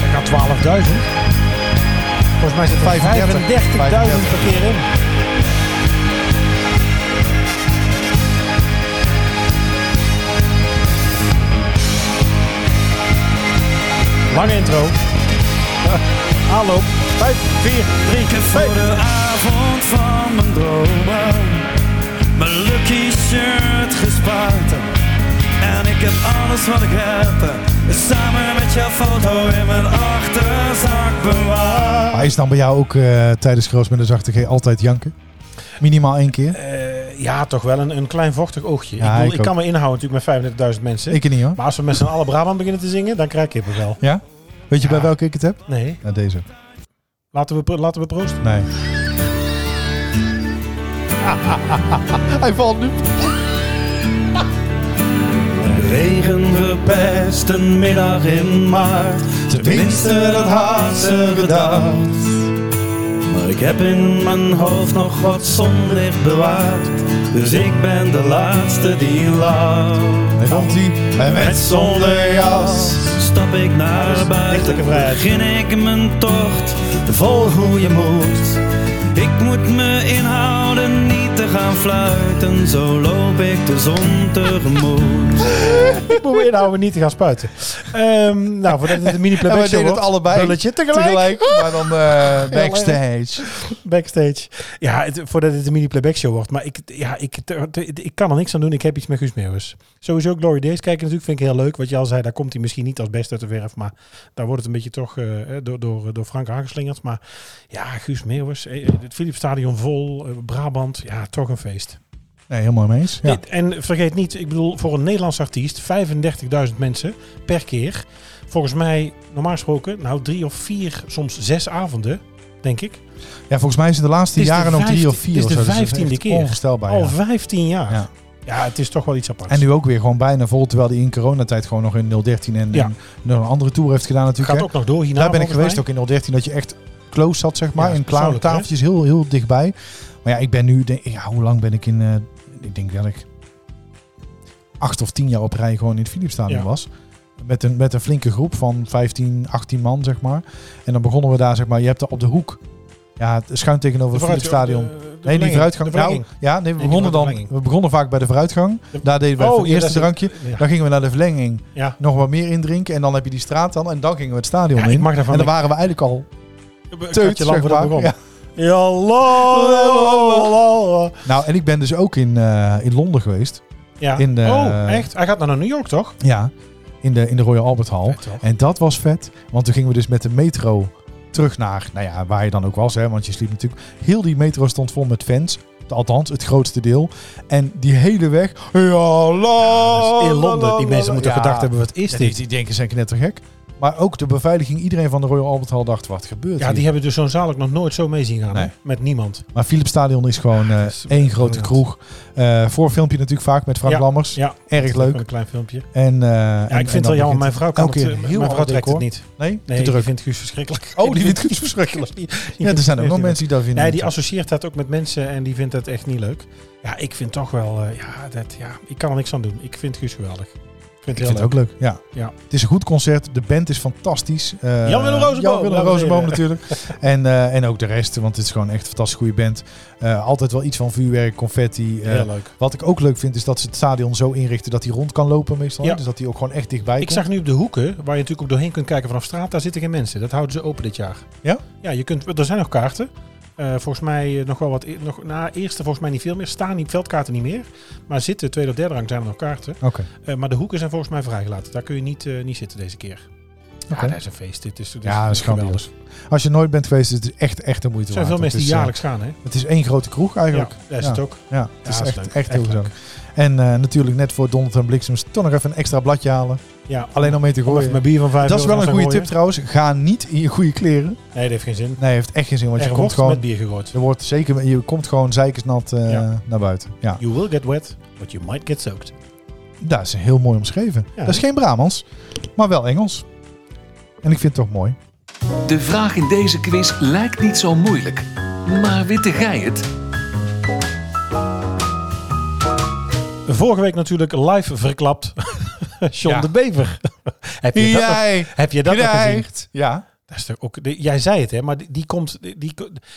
Zeg nou 12.000. Volgens mij zit er
35.
35.000 per keer in. Lange intro. Aanloop. 5, 4, 3,
Ik
2.
heb voor de avond van mijn dromen mijn lucky shirt gespaard. En ik heb alles wat ik heb samen met jouw foto in mijn achterzak bewaard.
Maar is dan bij jou ook eh, tijdens Groos met de Zachte G altijd janken? Minimaal één keer?
Eh, ja, toch wel een, een klein vochtig oogje.
Ja,
ik, bedoel,
ik
ik,
ook.
kan me inhouden natuurlijk met 35.000 mensen.
Ik niet hoor.
Maar als we met z'n allen Brabant beginnen te zingen, dan krijg ik er wel.
Ja? Weet je bij welke ik het heb?
Nee,
Ja, deze.
laten we, pro- laten we proosten.
Nee. Hij valt nu.
Regen verpest een middag in maart. Tenminste, dat had ze gedacht. Maar ik heb in mijn hoofd nog wat zonlicht bewaard. Dus ik ben de laatste die lacht.
Hij komt
Nou.
hij. En
Met zonder jas stap ik naar buiten.
dichtelijke vrijheid.
Begin ik mijn tocht vol goede moed. Ik moet me inhouden niet te gaan fluiten. Zo loop ik de zon tegemoet.
Ik moet me inhouden niet te gaan spuiten. Ehm, nou, voordat het een mini
En wij
playback show
deden het
wordt,
allebei.
Bulletje tegelijk.
Maar dan eh, backstage.
Backstage. Ja, het, voordat het een mini playback show wordt. Maar ik, ja, ik, t- t- ik kan er niks aan doen. Ik heb iets met Guus Meeuwis. Sowieso Glory Days kijken natuurlijk vind ik heel leuk. Wat je al zei, daar komt hij misschien niet als best uit de werf. Maar daar wordt het een beetje toch eh, eh, door, door, door Frank aangeslingerd. Maar ja, Guus Meeuwis. eh, eh, Het Philipsstadion vol. eh, Brabant. Ja, toch een feest.
Nee, helemaal mee eens. Ja.
Dit- En vergeet niet, ik bedoel, voor een Nederlands artiest 35.000 mensen per keer. Volgens mij, normaal gesproken, nou drie of vier, soms zes avonden, denk ik.
ja, volgens mij is het de laatste
Het is de
jaren nog drie of
vijftien-
vier.
het is
of
de
zo. Dus dat echt
vijftiende keer.
Onvoorstelbaar.
Al
ja.
15 jaar.
Ja.
Ja, het is toch wel iets apart.
En nu ook weer gewoon bijna vol, terwijl hij in coronatijd gewoon nog in 013 en,
Ja.
en nog een andere tour heeft gedaan natuurlijk.
gaat
hè.
ook nog door hierna.
Daar ben ik
Nou, volgens
geweest
mij.
ook in 013, dat je echt close zat, zeg maar.
Ja,
in
dat is
klare
persoonlijk, hè?
tafeltjes, heel, heel dichtbij. Maar ja, ik ben nu, denk- ja, hoe lang ben ik in, eh, ik denk dat ik acht of tien jaar op rij gewoon in het Philipsstadion
Ja.
was. Met een, met een flinke groep van 15, 18 man, zeg maar. En dan begonnen we daar, zeg maar, je hebt daar op de hoek, ja, het schuin tegenover
De
het Philipsstadion.
vooruitgang, de- de
Nee, die
verlenging,
vooruitgang.
de
Nou,
verlenging.
ja, nee, we,
Nee, die
begonnen dan,
verlenging.
we begonnen vaak bij de vooruitgang.
De-
Daar deden we
Oh,
even het
ja,
eerste
dat is-
drankje.
ja.
Dan gingen we naar de verlenging.
Ja.
Nog wat meer indrinken. En dan heb je die straat dan. En dan gingen we het stadion
Ja, ik
in.
mag daarvan
en dan
niet-
waren we eigenlijk al
Een
teut,
kwartje lang
zeg
voordat
maar.
het begon.
Ja.
Ja, la, la, la, la.
Nou, en ik ben dus ook in, eh, in Londen geweest.
Ja.
In de-
oh, echt? Hij gaat naar New York, toch?
Ja. In de, in de Royal Albert Hall.
Vet, toch?
En dat was vet. Want toen gingen we dus met de metro terug naar... Nou ja, waar je dan ook was. Hè, want je sliep natuurlijk... Heel die metro stond vol met fans. Althans, het grootste deel. En die hele weg... Ja, la,
in
la, la,
Londen. Die
la,
mensen moeten
ja.
gedacht hebben, wat is
Ja,
dit?
die, die denken, zijn knettergek. Maar ook de beveiliging, iedereen van de Royal Albert Hall dacht, wat gebeurt
Ja,
hier?
die hebben dus zo'n zaal ook nog nooit zo mee zien gaan. hè?
Nee.
Met niemand.
Maar Philips Stadion is gewoon eh,
is
één grote
briljant.
kroeg. Eh voorfilmpje natuurlijk vaak met Frank
Ja,
Lammers.
Ja.
Erg leuk.
Een klein filmpje. Ja,
En, eh, en-
ik
en
vind het
dan
wel jammer. Mijn
begint-
vrouw kan
elke
het,
keer
eh,
heel
mijn vrouw
hard
trekt het
decor.
niet.
Nee,
Nee,
te
die
druk.
vindt Guus verschrikkelijk.
Oh, die vindt Guus verschrikkelijk. Ja, er zijn ook nog mensen die eh, dat vinden.
Nee, die associeert dat ook met mensen en die vindt dat echt niet leuk. Ja, ik vind toch wel... eh, ja, dat, ja, ik kan er niks aan doen. Ik vind Guus geweldig. Ik vind
ik
het
vind
heel
het ook
leuk.
leuk, ja.
Ja.
Het is een goed concert. De band is fantastisch. Eh,
Jan-Willem Rozenboom,
Jan-Willem
dames en
Rozenboom
heren.
natuurlijk. en, eh, en ook de rest, want het is gewoon echt een fantastisch goede band. Eh, altijd wel iets van vuurwerk, confetti. eh,
Heel leuk.
Wat ik ook leuk vind, is dat ze het stadion zo inrichten dat hij rond kan lopen meestal.
Ja.
Dus dat hij ook gewoon echt dichtbij
Ik
komt.
zag nu op de hoeken, waar je natuurlijk ook doorheen kunt kijken vanaf straat, daar zitten geen mensen. Dat houden ze open dit jaar.
Ja?
Ja, je kunt, er zijn nog kaarten. Eh, volgens mij eh, nog wel wat. e- Nog, na eerste volgens mij niet veel meer. Staan niet, veldkaarten niet meer. Maar zitten, tweede of derde rang zijn er nog kaarten.
Oké.
Eh, maar de hoeken zijn volgens mij vrijgelaten. Daar kun je niet, eh, niet zitten deze keer.
Oké.
Ja, dat is een feest. Dit Dus is, dit
Ja, dat is
geweldig.
grandioos. Als je nooit bent geweest, is het echt, echt de moeite
Er zijn
waard.
veel mensen
Het
die
is, eh,
jaarlijks gaan, hè?
Het is één grote kroeg
Ja,
eigenlijk.
dat is het ook.
Ja, het is
dat is
echt, echt
leuk.
heel
Echt
gezellig.
leuk.
En eh, natuurlijk net voor Donald en Bliksems toch nog even een extra bladje halen.
Ja,
Alleen om mee te
Om even
gooien.
mijn bier van vijf
Dat is
euro
wel een
naar
goede
te
tip
gooien.
trouwens. Ga niet in je goede kleren.
Nee, dat heeft geen zin.
Nee, heeft echt geen zin. Want
Er
je komt
wordt
gewoon,
met bier gegooid.
je, wordt zeker, je komt gewoon zeikersnat eh,
Ja.
naar buiten. Ja,
You will get wet, but you might get soaked.
dat is heel mooi omschreven.
Ja.
dat is geen Brabants, maar wel Engels. En ik vind het toch mooi.
De vraag in deze quiz lijkt niet zo moeilijk. Maar witte gij het?
Vorige week natuurlijk live verklapt. John
Ja.
de Bever. heb, je dat nog, heb je dat nog gezien?
Ja.
Dat is toch ook, de- jij zei het, hè? Maar die, die komt... Die, die-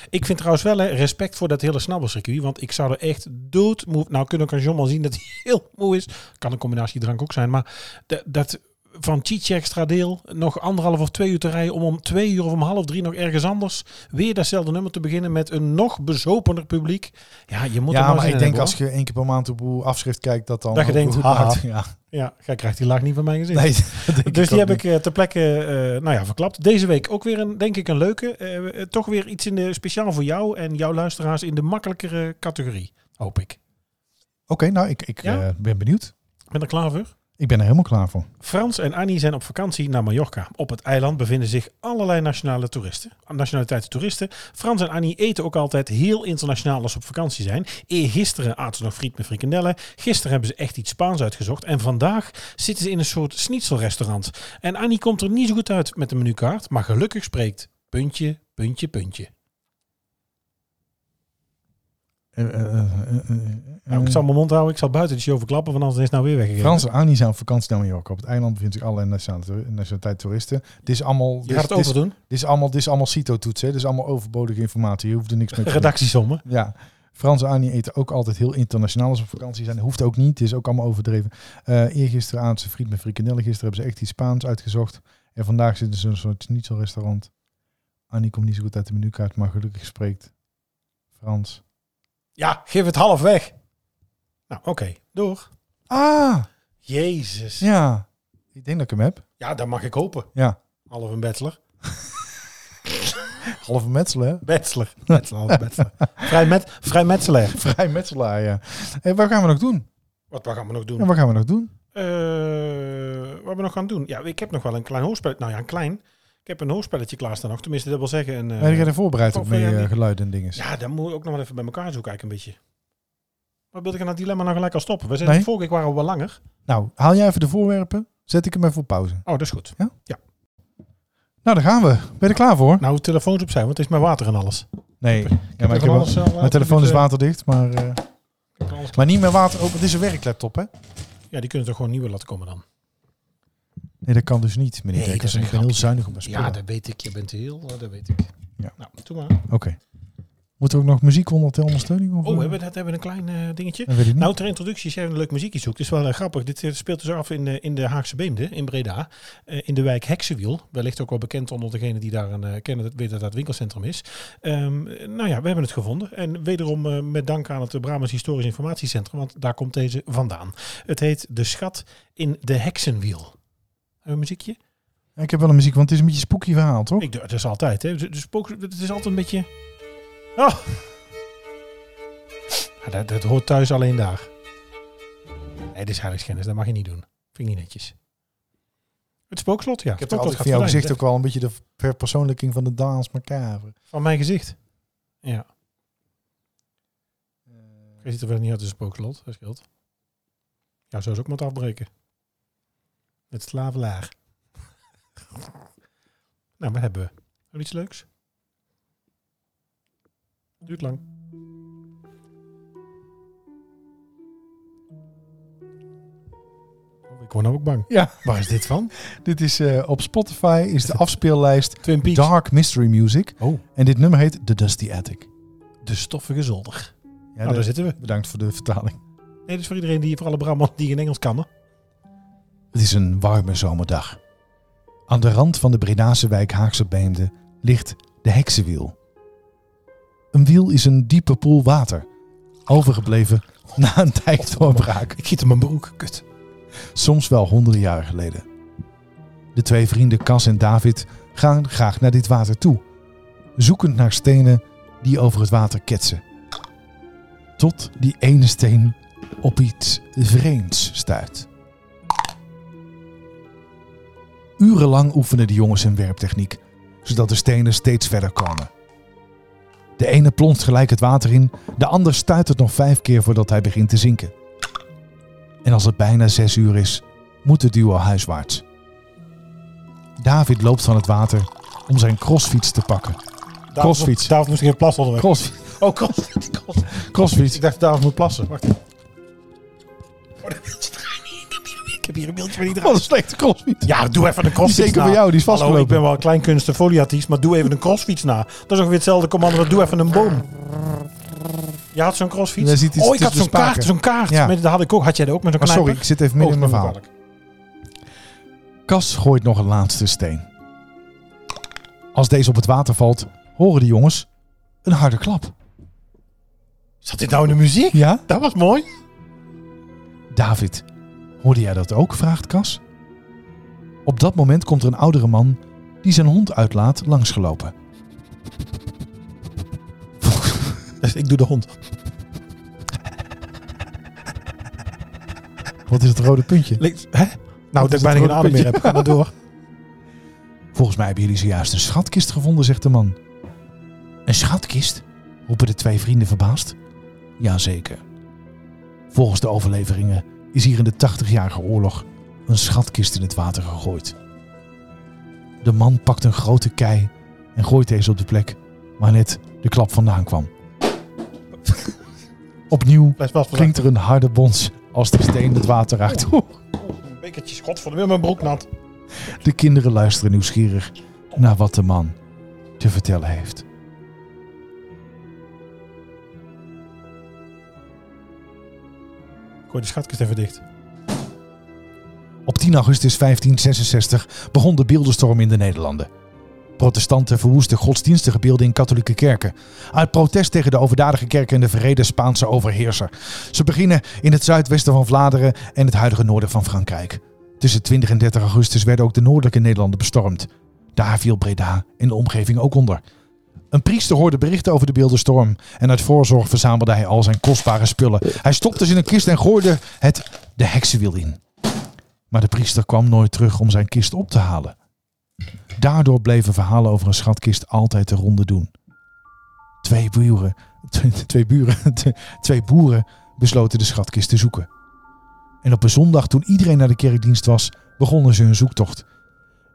ik vind trouwens wel hè, respect voor dat hele snabbelcircuit. Want ik zou er echt doodmoe... Nou, kunnen we aan John wel zien dat hij heel moe is. Kan een combinatie drank ook zijn. Maar dat... dat van Chiche extra deel nog anderhalf of twee uur te rijden om om twee uur of om half drie nog ergens anders weer datzelfde nummer te beginnen met een nog bezopener publiek. Ja, je moet er
Ja,
maar
maar
zin
ik denk
in hebben,
als je één keer per maand op hoe afschrift kijkt, dat dan.
Dat je
ook
denkt,
goed
haha.
maakt. Ja.
hoor. ja, jij krijgt die laag niet van mijn gezicht.
Nee, dat denk
Dus die
ook
heb
niet.
ik eh, ter plekke eh, nou ja, verklapt. Deze week ook weer een, denk ik, een leuke. Eh, eh, toch weer iets in de, speciaal voor jou en jouw luisteraars in de makkelijkere categorie. Hoop ik.
Oké, nou, ik, ik
Ja?
eh, ben benieuwd.
Ben er klaar voor?
Ik ben er helemaal klaar voor.
Frans en Annie zijn op vakantie naar Mallorca. Op het eiland bevinden zich allerlei nationale toeristen, nationaliteiten toeristen. Frans en Annie eten ook altijd heel internationaal als ze op vakantie zijn. Eergisteren aten ze nog friet met frikandellen. Gisteren hebben ze echt iets Spaans uitgezocht. En vandaag zitten ze in een soort schnitzelrestaurant. En Annie komt er niet zo goed uit met de menukaart, maar gelukkig spreekt puntje, puntje, puntje.
Eh, eh, eh, eh, eh,
Nou, ik zal mijn mond houden, ik zal buiten de show verklappen, want anders is het nou weer weggegeven.
Frans en Annie zijn op vakantie naar Mallorca. Op het eiland bevindt zich allerlei nationale toer- nationaliteit toeristen. Dit is allemaal,
je
dit,
gaat het
dit is,
overdoen.
dit is allemaal, dit is allemaal CITO-toetsen. hè. Dit is allemaal overbodige informatie. Je hoeft er niks mee te doen.
Redactiesommen.
Ja. Frans en Annie eten ook altijd heel internationaal als ze op vakantie zijn. Hoeft ook niet. Het is ook allemaal overdreven. Eh eergisteren aten ze friet met frikandellen. Gisteren hebben ze echt iets Spaans uitgezocht. En vandaag zitten ze in een soort niet zo restaurant. Annie komt niet zo goed uit de menukaart, maar gelukkig spreekt Frans.
Ja, geef het half weg. Nou, oké, door.
Ah,
Jezus.
ja. Ik denk dat ik hem heb.
Ja, dat mag ik hopen.
Ja.
Half een bachelor.
Halve metselen, hè?
Bachelor. Bachelor, half bachelor. Vrij, met, vrij metselaar.
Vrij metselaar, ja. Hey, wat gaan we nog doen?
Wat, wat gaan we nog doen?
Ja, wat gaan we nog doen?
Eh, wat we nog gaan doen? Ja, ik heb nog wel een klein hoorspelletje. Nou ja, een klein. Ik heb een hoorspelletje klaarstaan nog. Tenminste, dat wil zeggen een... eh,
Ben jij er voorbereid op
of,
mee
eh,
eh,
die-
geluiden en dingen?
ja, dan moet ik ook nog wel even bij elkaar zoeken eigenlijk een beetje. Maar wilde ik aan dat dilemma nou gelijk al stoppen? We zijn
Nee.
vorige keer waren we wel langer.
Nou, haal jij even de voorwerpen. Zet ik hem even op pauze.
Oh, dat is goed.
Nou, daar gaan we. Ben je er klaar voor?
Nou, telefoons opzij, want het is maar water en alles.
Nee. Ja, maar ik heb wel- mijn telefoon is waterdicht, maar, eh, maar niet meer water. Oh, het is een werklaptop, hè?
Ja, die kunnen toch gewoon nieuwe laten komen dan?
Nee, dat kan dus niet, meneer
Nee,
Dekkers.
dat is een
Ik ben heel
grapje.
zuinig op mijn spullen.
Ja, dat weet ik. Je bent heel, eh, dat weet ik.
Ja.
Nou, doe maar.
Oké. Moet er ook nog muziek onder ter ondersteuning? Of,
Oh,
eh,
hebben we, dat hebben we een klein eh, dingetje.
Dat weet ik niet.
Nou, ter introductie zijn we een leuk muziekje zoekt. Het is wel eh, grappig. Dit eh, speelt dus af in, eh, in de Haagse Beemde, in Breda. eh, in de wijk Heksenwiel. Wellicht ook wel bekend onder degenen die daar een, eh, kennen, dat weten dat dat winkelcentrum is. Ehm, nou ja, we hebben het gevonden. En wederom eh, met dank aan het eh, Brabants Historisch Informatiecentrum, want daar komt deze vandaan. Het heet De Schat in de Heksenwiel. Hebben we een muziekje?
ja, ik heb wel een muziek, want het is een beetje een spooky verhaal, toch?
Ik, doe- het is altijd, hè. De, de spook, het is altijd een beetje... Oh! Ja, dat, dat hoort thuis alleen daar. Nee, dit is heiligschennis. Dat mag je niet doen. Vind ik niet netjes. Het spookslot, ja.
Ik heb
Het
er altijd
spookslot
van jouw
gaat
gezicht
verdwijnen.
ook wel een beetje de verpersoonlijking van de Daans Macabre.
Van mijn gezicht. Ja. Je ziet er wel niet uit als een spookslot. Dat scheelt. Ja, zo is ook moet afbreken. Het slavelaar. nou, wat hebben we? Hebben we iets leuks? Duurt lang. Oh, Ik word nou ook bang.
Ja,
Waar is dit van?
dit is eh, op Spotify is de afspeellijst
Twin Peaks.
Dark Mystery Music.
Oh,
En dit nummer heet The Dusty Attic. Ja,
de stoffige zolder. nou,
dat-
daar zitten we.
Bedankt voor de vertaling.
Nee, dat is voor iedereen die, voor alle Brabant die in Engels kan. hè?
Het is een warme zomerdag. Aan de rand van de Bredase wijk Haagse Beemde ligt de heksenwiel. Een wiel is een diepe poel water, overgebleven na een dijkdoorbraak.
Ik giet in mijn broek. Kut.
soms wel honderden jaren geleden. De twee vrienden Cas en David gaan graag naar dit water toe, zoekend naar stenen die over het water ketsen. Tot die ene steen op iets vreemds stuit. Urenlang oefenen de jongens hun werptechniek, zodat de stenen steeds verder komen. De ene plonst gelijk het water in, de ander stuit het nog vijf keer voordat hij begint te zinken. En als het bijna zes uur is, moet het duo huiswaarts. David loopt van het water om zijn crossfiets te pakken. Crossfiets.
David moest geen plas onderweg.
Cross,
oh, crossfiets. crossfiets.
crossfiets.
Ik dacht, David moet plassen. Wacht even. Oh, dat beeldje draait niet. Ik heb hier- Ik heb hier een beeldje waar niet
Wat
draait.
een slechte crossfiets.
Ja, doe even een crossfiets
Zeker
na.
bij jou, die is
Hallo, ik
vastgelopen.
ben wel een klein kunstenfoliatief, maar doe even een crossfiets na. Dat is ook weer hetzelfde commando, doe even een boom. Je had zo'n crossfiets?
Daar zit iets
oh, ik had
tussen
zo'n
de spaken.
kaart, zo'n kaart.
dus Ja.
Met, dat had ik ook. Had jij dat ook met zo'n
Maar sorry, ik
knijper?
zit even midden in
Oh,
mijn verhaal.
dat is me
Cas gooit nog een laatste steen. Als deze op het water valt, horen de jongens een harde klap.
kwalijk. Zat dit nou in de muziek?
Ja?
Dat was mooi.
David, hoorde jij dat ook? vraagt Cas. Op dat moment komt er een oudere man die zijn hond uitlaat langsgelopen.
Dus ik doe de hond.
Wat is het rode puntje?
Links, hè? Nou, dat
het
ik bijna geen
rode
adem meer
puntje.
heb. Ga maar door.
Volgens mij hebben jullie zojuist een schatkist gevonden, zegt de man. Een schatkist? roepen de twee vrienden verbaasd. Jazeker. Volgens de overleveringen is hier in de 80-jarige oorlog een schatkist in het water gegooid. De man pakt een grote kei en gooit deze op de plek waar net de klap vandaan kwam. Opnieuw
Blijf wel
klinkt er een harde bons als de steen het water raakt.
Een bekertje schot voor de weer mijn broek nat.
De kinderen luisteren nieuwsgierig naar wat de man te vertellen heeft.
Gooi de schatkist even dicht.
Op 10 augustus 1566 begon de beeldenstorm in de Nederlanden. Protestanten verwoesten godsdienstige beelden in katholieke kerken. Uit protest tegen de overdadige kerk en de verreden Spaanse overheerser. Ze beginnen in het zuidwesten van Vlaanderen en het huidige noorden van Frankrijk. Tussen 20 en 30 augustus werden ook de noordelijke Nederlanden bestormd. Daar viel Breda en de omgeving ook onder. Een priester hoorde berichten over de beeldenstorm en uit voorzorg verzamelde hij al zijn kostbare spullen. Hij stopte ze in een kist en gooide het de heksenwiel in. Maar de priester kwam nooit terug om zijn kist op te halen. Daardoor bleven verhalen over een schatkist altijd de ronde doen. Twee buren, twee, twee buren, twee boeren besloten de schatkist te zoeken. En op een zondag toen iedereen naar de kerkdienst was, begonnen ze hun zoektocht.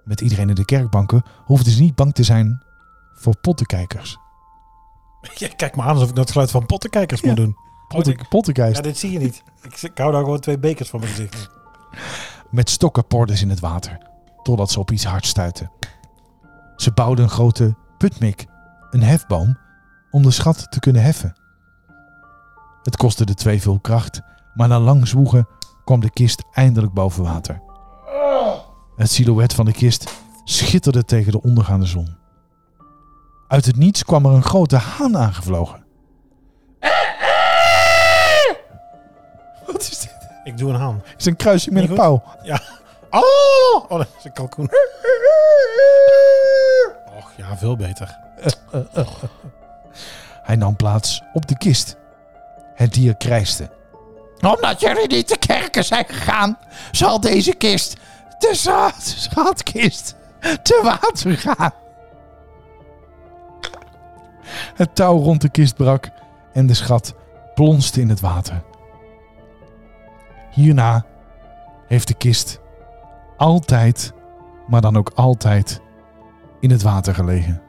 Met iedereen in de kerkbanken hoefden ze niet bang te zijn voor pottenkijkers.
Ja, kijk maar aan alsof ik dat geluid van pottenkijkers moet doen.
Potten,
dit-
pottenkijkers
Ja, dit zie je niet. Ik, ik hou daar gewoon twee bekers van mijn gezicht.
met stokken porden in het water, totdat ze op iets hard stuiten. Ze bouwden een grote putmik, een hefboom, om de schat te kunnen heffen. Het kostte de twee veel kracht, maar na lang zwoegen kwam de kist eindelijk boven water. Het silhouet van de kist schitterde tegen de ondergaande zon. Uit het niets kwam er een grote haan aangevlogen. Wat is dit?
Ik doe een haan.
Het is een kruising met een
Niet
pauw.
Ja. Oh, oh dat is een kalkoen. Och, ja, veel beter.
Hij nam plaats op de kist. Het dier krijste. Omdat jullie niet de kerken zijn gegaan, zal deze kist, de scha- schatkist, te water gaan. Het touw rond de kist brak en de schat plonste in het water. Hierna heeft de kist altijd, maar dan ook altijd, in het water gelegen.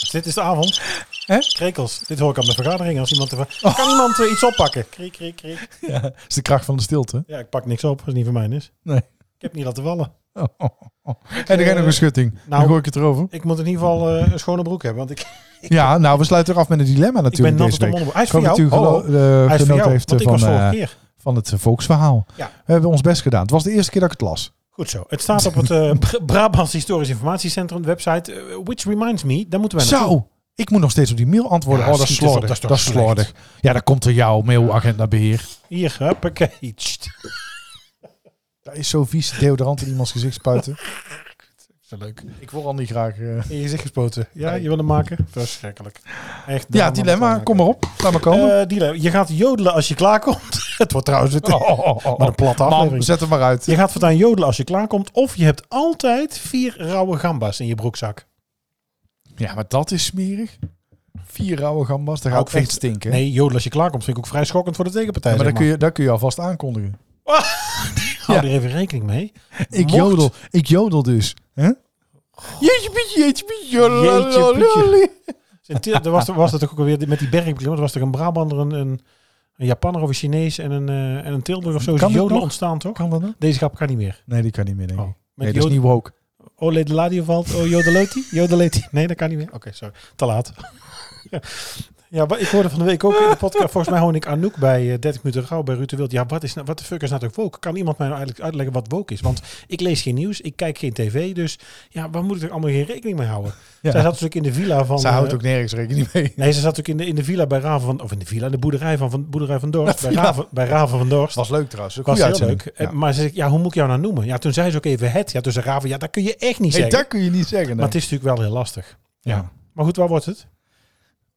Dus dit is de avond.
Hè? Oh.
Krekels. Dit hoor ik aan mijn vergadering. Als iemand er van- Kan iemand eh, iets oppakken? Kriek, kriek, kriek.
Ja, dat is de kracht van de stilte.
Ja, ik pak niks op. Als het niet van mij is.
Nee.
Ik heb niet laten vallen.
Oh, oh, oh. En dan ga je nog een schutting.
nou-
dan gooi ik het erover.
Ik moet in ieder geval eh, een schone broek hebben. Want ik,
Ja, nou, we sluiten er af met een dilemma
ik ben
natuurlijk
nat
deze
tot de
week.
mond. Hij is
Ik hoop
van
dat u
jou.
gelo-
Oh, oh.
eh,
Hij is van
genoten
jou.
heeft
Want ik was
van,
vorige
eh,
keer.
van het eh, volksverhaal.
Ja.
We hebben ons best gedaan. Het was de eerste keer dat ik het las.
Goed zo. Het staat op het eh, Bra- Brabants Historisch Informatiecentrum website. eh, which reminds me, daar moeten we naartoe.
Zo, ik moet nog steeds op die mail antwoorden.
Ja,
oh, dat is
schiet eens op,
slordig.
dat
Dat
is
is,
toch slecht.
slordig. Ja, dat komt door jouw mailagendabeheer.
Hier, huppakee. Tst.
Dat is zo vies deodorant in iemands gezicht spuiten.
Zo leuk.
ik wil al niet graag... eh,
In je gezicht gespoten. Ja, je wil hem maken? Verschrikkelijk. Echt.
Ja, dilemma, kom maar op. Laat maar komen.
Eh, dilemma. Je gaat jodelen als je klaarkomt. het wordt trouwens het,
Oh, oh, oh, oh.
maar een platte
Man,
aflevering.
zet hem maar uit.
Je gaat voortaan jodelen als je klaarkomt. Of je hebt altijd vier rauwe gamba's in je broekzak.
Ja, maar dat is smerig. Vier rauwe gambas, daar ga
Ook
ik Nou, echt
echt-
stinken.
Nee, jodelen als je klaarkomt vind ik ook vrij schokkend voor de tegenpartij.
Ja, maar
zeg
daar
maar
kun, je, daar kun je alvast aankondigen.
Hou er even rekening mee.
Ik
Mocht-
jodel, ik jodel dus. hè? Jeetje pietje, jeetje pietje, jodelalalali.
In Til- Er was, was dat ook alweer met die bergbeklimmer. Er was toch een Brabander, een, een, een Japanner of een Chinees en een, eh, en een Tilburg of zo. Is
Kan dit
jodelen
nog?
ontstaan toch?
Kan dat nog?
Deze grap kan niet meer.
Nee, die kan niet meer, denk ik.
Oh,
nee,
met
dat is
jodel-
niet woke.
Oh, de radio valt. Oh, jodeleutie? Jodeleutie. Nee, dat kan niet meer. Oké, sorry. Te laat. ja. ja, maar ik hoorde van de week ook in de podcast. Volgens mij hoorde ik Anouk bij eh, 30 minuten gauw bij Ruud de Wild. Ja, wat, is, nou- wat de fuck is nou toch woke? Kan iemand mij nou eigenlijk uitleggen wat woke is? Want ik lees geen nieuws, ik kijk geen tv. Dus ja, waar moet ik er allemaal geen rekening mee houden?
Ja.
Zij zat dus ook in de villa van...
Ze houdt
eh,
ook nergens rekening mee.
Nee, ze zat ook in de, in de villa bij Raven van... Of in de villa, de boerderij van, van, boerderij van Dorst. Bij
villa.
Raven, bij Raven van Dorst.
Was leuk trouwens.
was
Was
heel
uitzending.
leuk.
Ja.
Eh, Maar ze zegt, ja, hoe moet ik jou nou noemen? Ja, toen zei ze ook even het. Ja, toen zei Raven, ja, dat kun je echt niet
Nee,
zeggen.
dat kun je niet zeggen.
Maar
nee.
het is natuurlijk wel heel lastig. Ja.
Ja.
Maar goed, waar wordt het?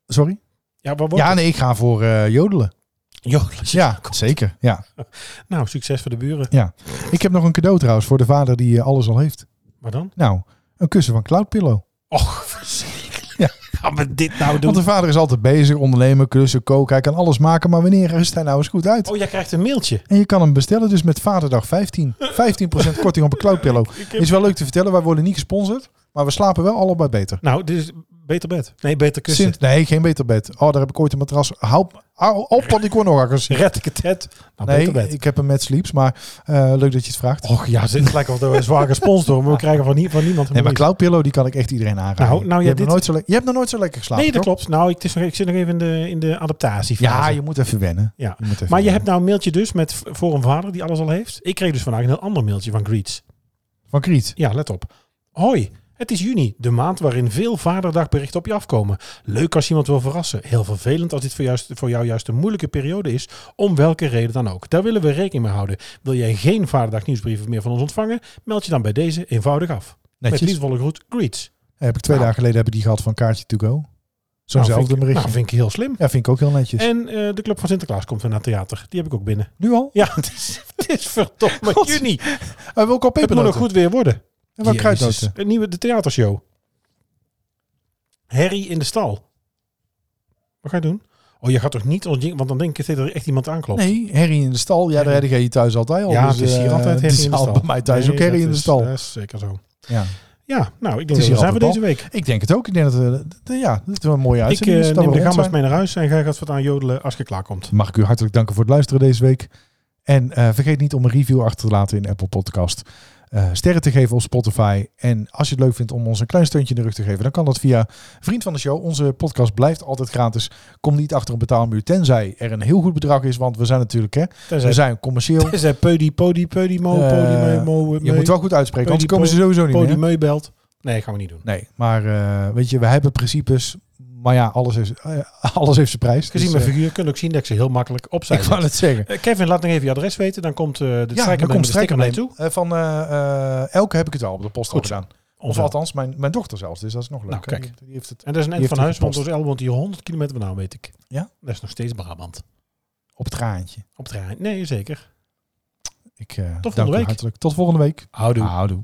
Sorry?
Ja, waar wordt
Ja, nee, ik ga voor eh, jodelen.
het? Jodeltje.
Ja, zeker. Ja.
Nou, succes voor de buren.
Ja. Ik heb nog een cadeau trouwens voor de vader die eh, alles al heeft.
Maar dan?
Nou, een kussen van Cloud Pillow.
Och, verschrikkelijk.
Ja.
Gaan we dit nou doen?
Want de vader is altijd bezig, ondernemen, klussen, koken. Hij kan alles maken, maar wanneer is hij nou eens goed uit?
Oh, jij krijgt een mailtje.
En je kan hem bestellen dus met Vaderdag 15. 15% korting op een cloud pillow. Is wel leuk te vertellen, wij worden niet gesponsord. Maar we slapen wel allebei beter.
Nou, dit is beter bed. Nee, beter kussen.
Sint, nee, geen beter bed. Oh, daar heb ik ooit een matras. Hou hou op, want ik word nog agressief.
Red ik het het? Nou, beter
Nee,
bed.
ik heb een met sleeps, maar eh, leuk dat je het vraagt.
Och ja, dit lijkt wel dat we zwaar gesponsord worden, maar we krijgen van, nie- van niemand een
Nee, maar
brief.
cloud pillow die kan ik echt iedereen aanraden.
Nou, nou, ja,
je, hebt
dit-
nog nooit zo le- je hebt nog nooit zo lekker geslapen.
Nee, dat
toch?
klopt. Nou, ik, het is nog, ik zit nog even in de, in de adaptatie.
Ja, je moet even wennen.
Ja.
Je moet even
Maar je
wennen.
hebt nou een mailtje dus met v- voor een vader die alles al heeft. Ik kreeg dus vandaag een heel ander mailtje van Greets.
Van Kriet.
Ja, let op. Hoi, het is juni, de maand waarin veel vaderdagberichten op je afkomen. Leuk als je iemand wil verrassen. Heel vervelend als dit voor, juist, voor jou juist een moeilijke periode is, om welke reden dan ook. Daar willen we rekening mee houden. Wil jij geen vaderdagnieuwsbrieven meer van ons ontvangen? Meld je dan bij deze eenvoudig af. Met
Netjes.
liefdevolle groet, greets.
Heb ik twee
Nou.
dagen geleden heb ik die gehad van Kaartje to go.
Nou,
Zo'nzelfde
vind ik-
berichtje.
Nou, vind ik heel slim.
ja, vind ik ook heel netjes.
En eh, de Club van Sinterklaas komt weer naar het theater. Die heb ik ook binnen.
nu al?
Ja, het is, het is verdomme
God.
juni.
Hij wil ook al
Het moet nog
pepernoten.
goed weer worden.
En wat
Jezus.
kruidnoten?
Een nieuwe de theatershow. Harry in de stal. Wat ga je doen? Oh, je gaat toch niet ontjinken, want dan denk ik dat er echt iemand aanklopt.
Nee, herrie in de stal. Ja, daar
Herrie.
heb je thuis altijd al.
Ja,
dus,
het is hier
eh,
altijd
het
herrie
is
in de
al
stal.
Bij mij thuis
Nee,
ook herrie
dat
in de
is-
stal.
Dat is zeker zo.
eh, Ja.
Ja, nou, ik
is
denk
hier
dat we zijn voor
altijd
deze week.
Ik denk het ook. Ik denk dat, we- d- ja, dat we een mooie
Ik
uitzending
eh,
is, dat we
neem de
rond
gamma's
zijn.
mee naar huis en ga wat wat aan jodelen als je klaarkomt.
Mag ik u hartelijk danken voor het luisteren deze week. En eh, vergeet niet om een review achter te laten in Apple Podcast. Eh, sterren te geven op Spotify. En als je het leuk vindt om ons een klein steuntje in de rug te geven, dan kan dat via Vriend van de Show. Onze podcast blijft altijd gratis. Kom niet achter een betaalmuur, tenzij er een heel goed bedrag is. Want we zijn natuurlijk, hè, we
Tenzij,
zijn commercieel.
tenzij Peudy, Peudy, Peudy, Mo,
Eh,
Peudy, Mo, Mo,
Je moet wel goed uitspreken,
Podi-
anders komen ze sowieso niet
Peudy,
meer.
Meu belt. Nee, gaan we niet doen.
Nee, maar eh, weet je, we hebben principes. Maar ja, alles heeft, eh, alles heeft zijn prijs.
Gezien
Dus,
mijn
eh,
figuur kun je ook zien dat ik ze heel makkelijk opzij
ik wou
zet.
het zeggen.
Eh, Kevin, laat nog even je adres weten. Dan komt eh, de ja, strijker
dan
komt de sticker naar je
strijkembleem.
toe.
Eh, van eh, eh, Elke heb ik het al op de post al
Goed.
gedaan. Of
Onvel.
althans, mijn, mijn dochter zelfs. Dus dat is nog leuk.
Nou,
hè.
kijk.
Die heeft het
En dat is een
Die
eind van
heeft
huis,
het
want ons El woont hier 100 kilometer vandaan, weet ik.
Ja?
Dat is nog steeds Brabant.
op het raantje.
Op het terrein. Nee, zeker.
Ik eh dank
volgende
u
week.
hartelijk. Tot volgende week. Ah,
Houdoe.
Houdoe.